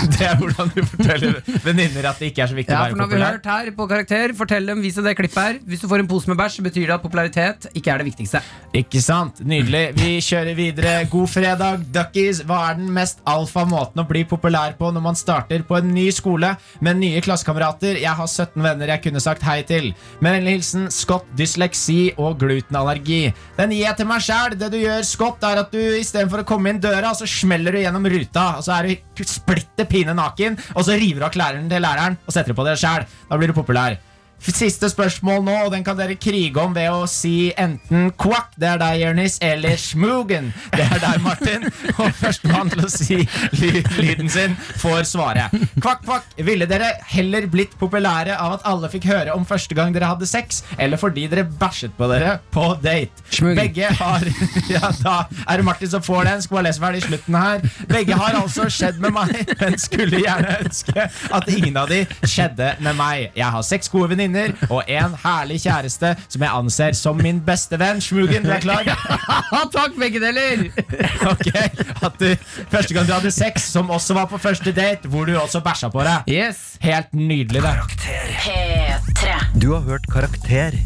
Det er hvordan du forteller venninner at det ikke er så viktig
Ja,
å
for
være
nå har vi
populær.
hørt her på Karakter. Fortell dem, vis dem det klippet her. Hvis du får en pose med bæsj, så betyr det at popularitet ikke er det [LAUGHS] viktigste.
Ikke sant? Nydelig. Vi kjører videre. God fredag, duckies. Hva er den mest alfa måten å bli populær på når man starter på en ny skole med nye klassekamerater? Jeg har 17 venner jeg kunne sagt hei til. Med vennlig hilsen Scott dysleksi og glutenallergi. Den gir jeg til meg sjæl. Det du gjør, Scott, er at du istedenfor å komme inn døra, så smeller du gjennom ruta, og så er du splitter pine naken, og så river du av klærne til læreren og setter på deg sjæl. Da blir du populær. Siste spørsmål nå, og den kan dere krige om ved å si enten kvakk, det er deg, Jørnis, eller smugen, det er deg, Martin. [LAUGHS] Og førstemann til å si ly lyden sin får svaret. Kvakk, kvakk, ville dere heller blitt populære av at alle fikk høre om første gang dere hadde sex, eller fordi dere bæsjet på dere på date? Begge har [LAUGHS] Ja, da er det Martin som får den. Skal bare lese ferdig slutten her. Begge har altså skjedd med meg, [LAUGHS] men skulle gjerne ønske at ingen av de skjedde med meg. Jeg har seks gode venninner og en herlig kjæreste som jeg anser som min beste venn. Smugen, du er klar?
Takk, begge deler!
[LAUGHS] Ok, at du Første gang du hadde sex, som også var på første date, hvor du også bæsja på deg.
Yes
Helt nydelig, det.
P3.
Du har hørt Karakter,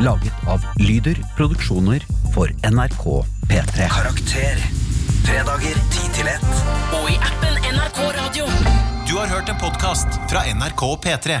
laget av Lyder Produksjoner for NRK P3.
Karakter. Fredager 10 til 1.
Og i appen NRK Radio.
Du har hørt en podcast fra NRK P3.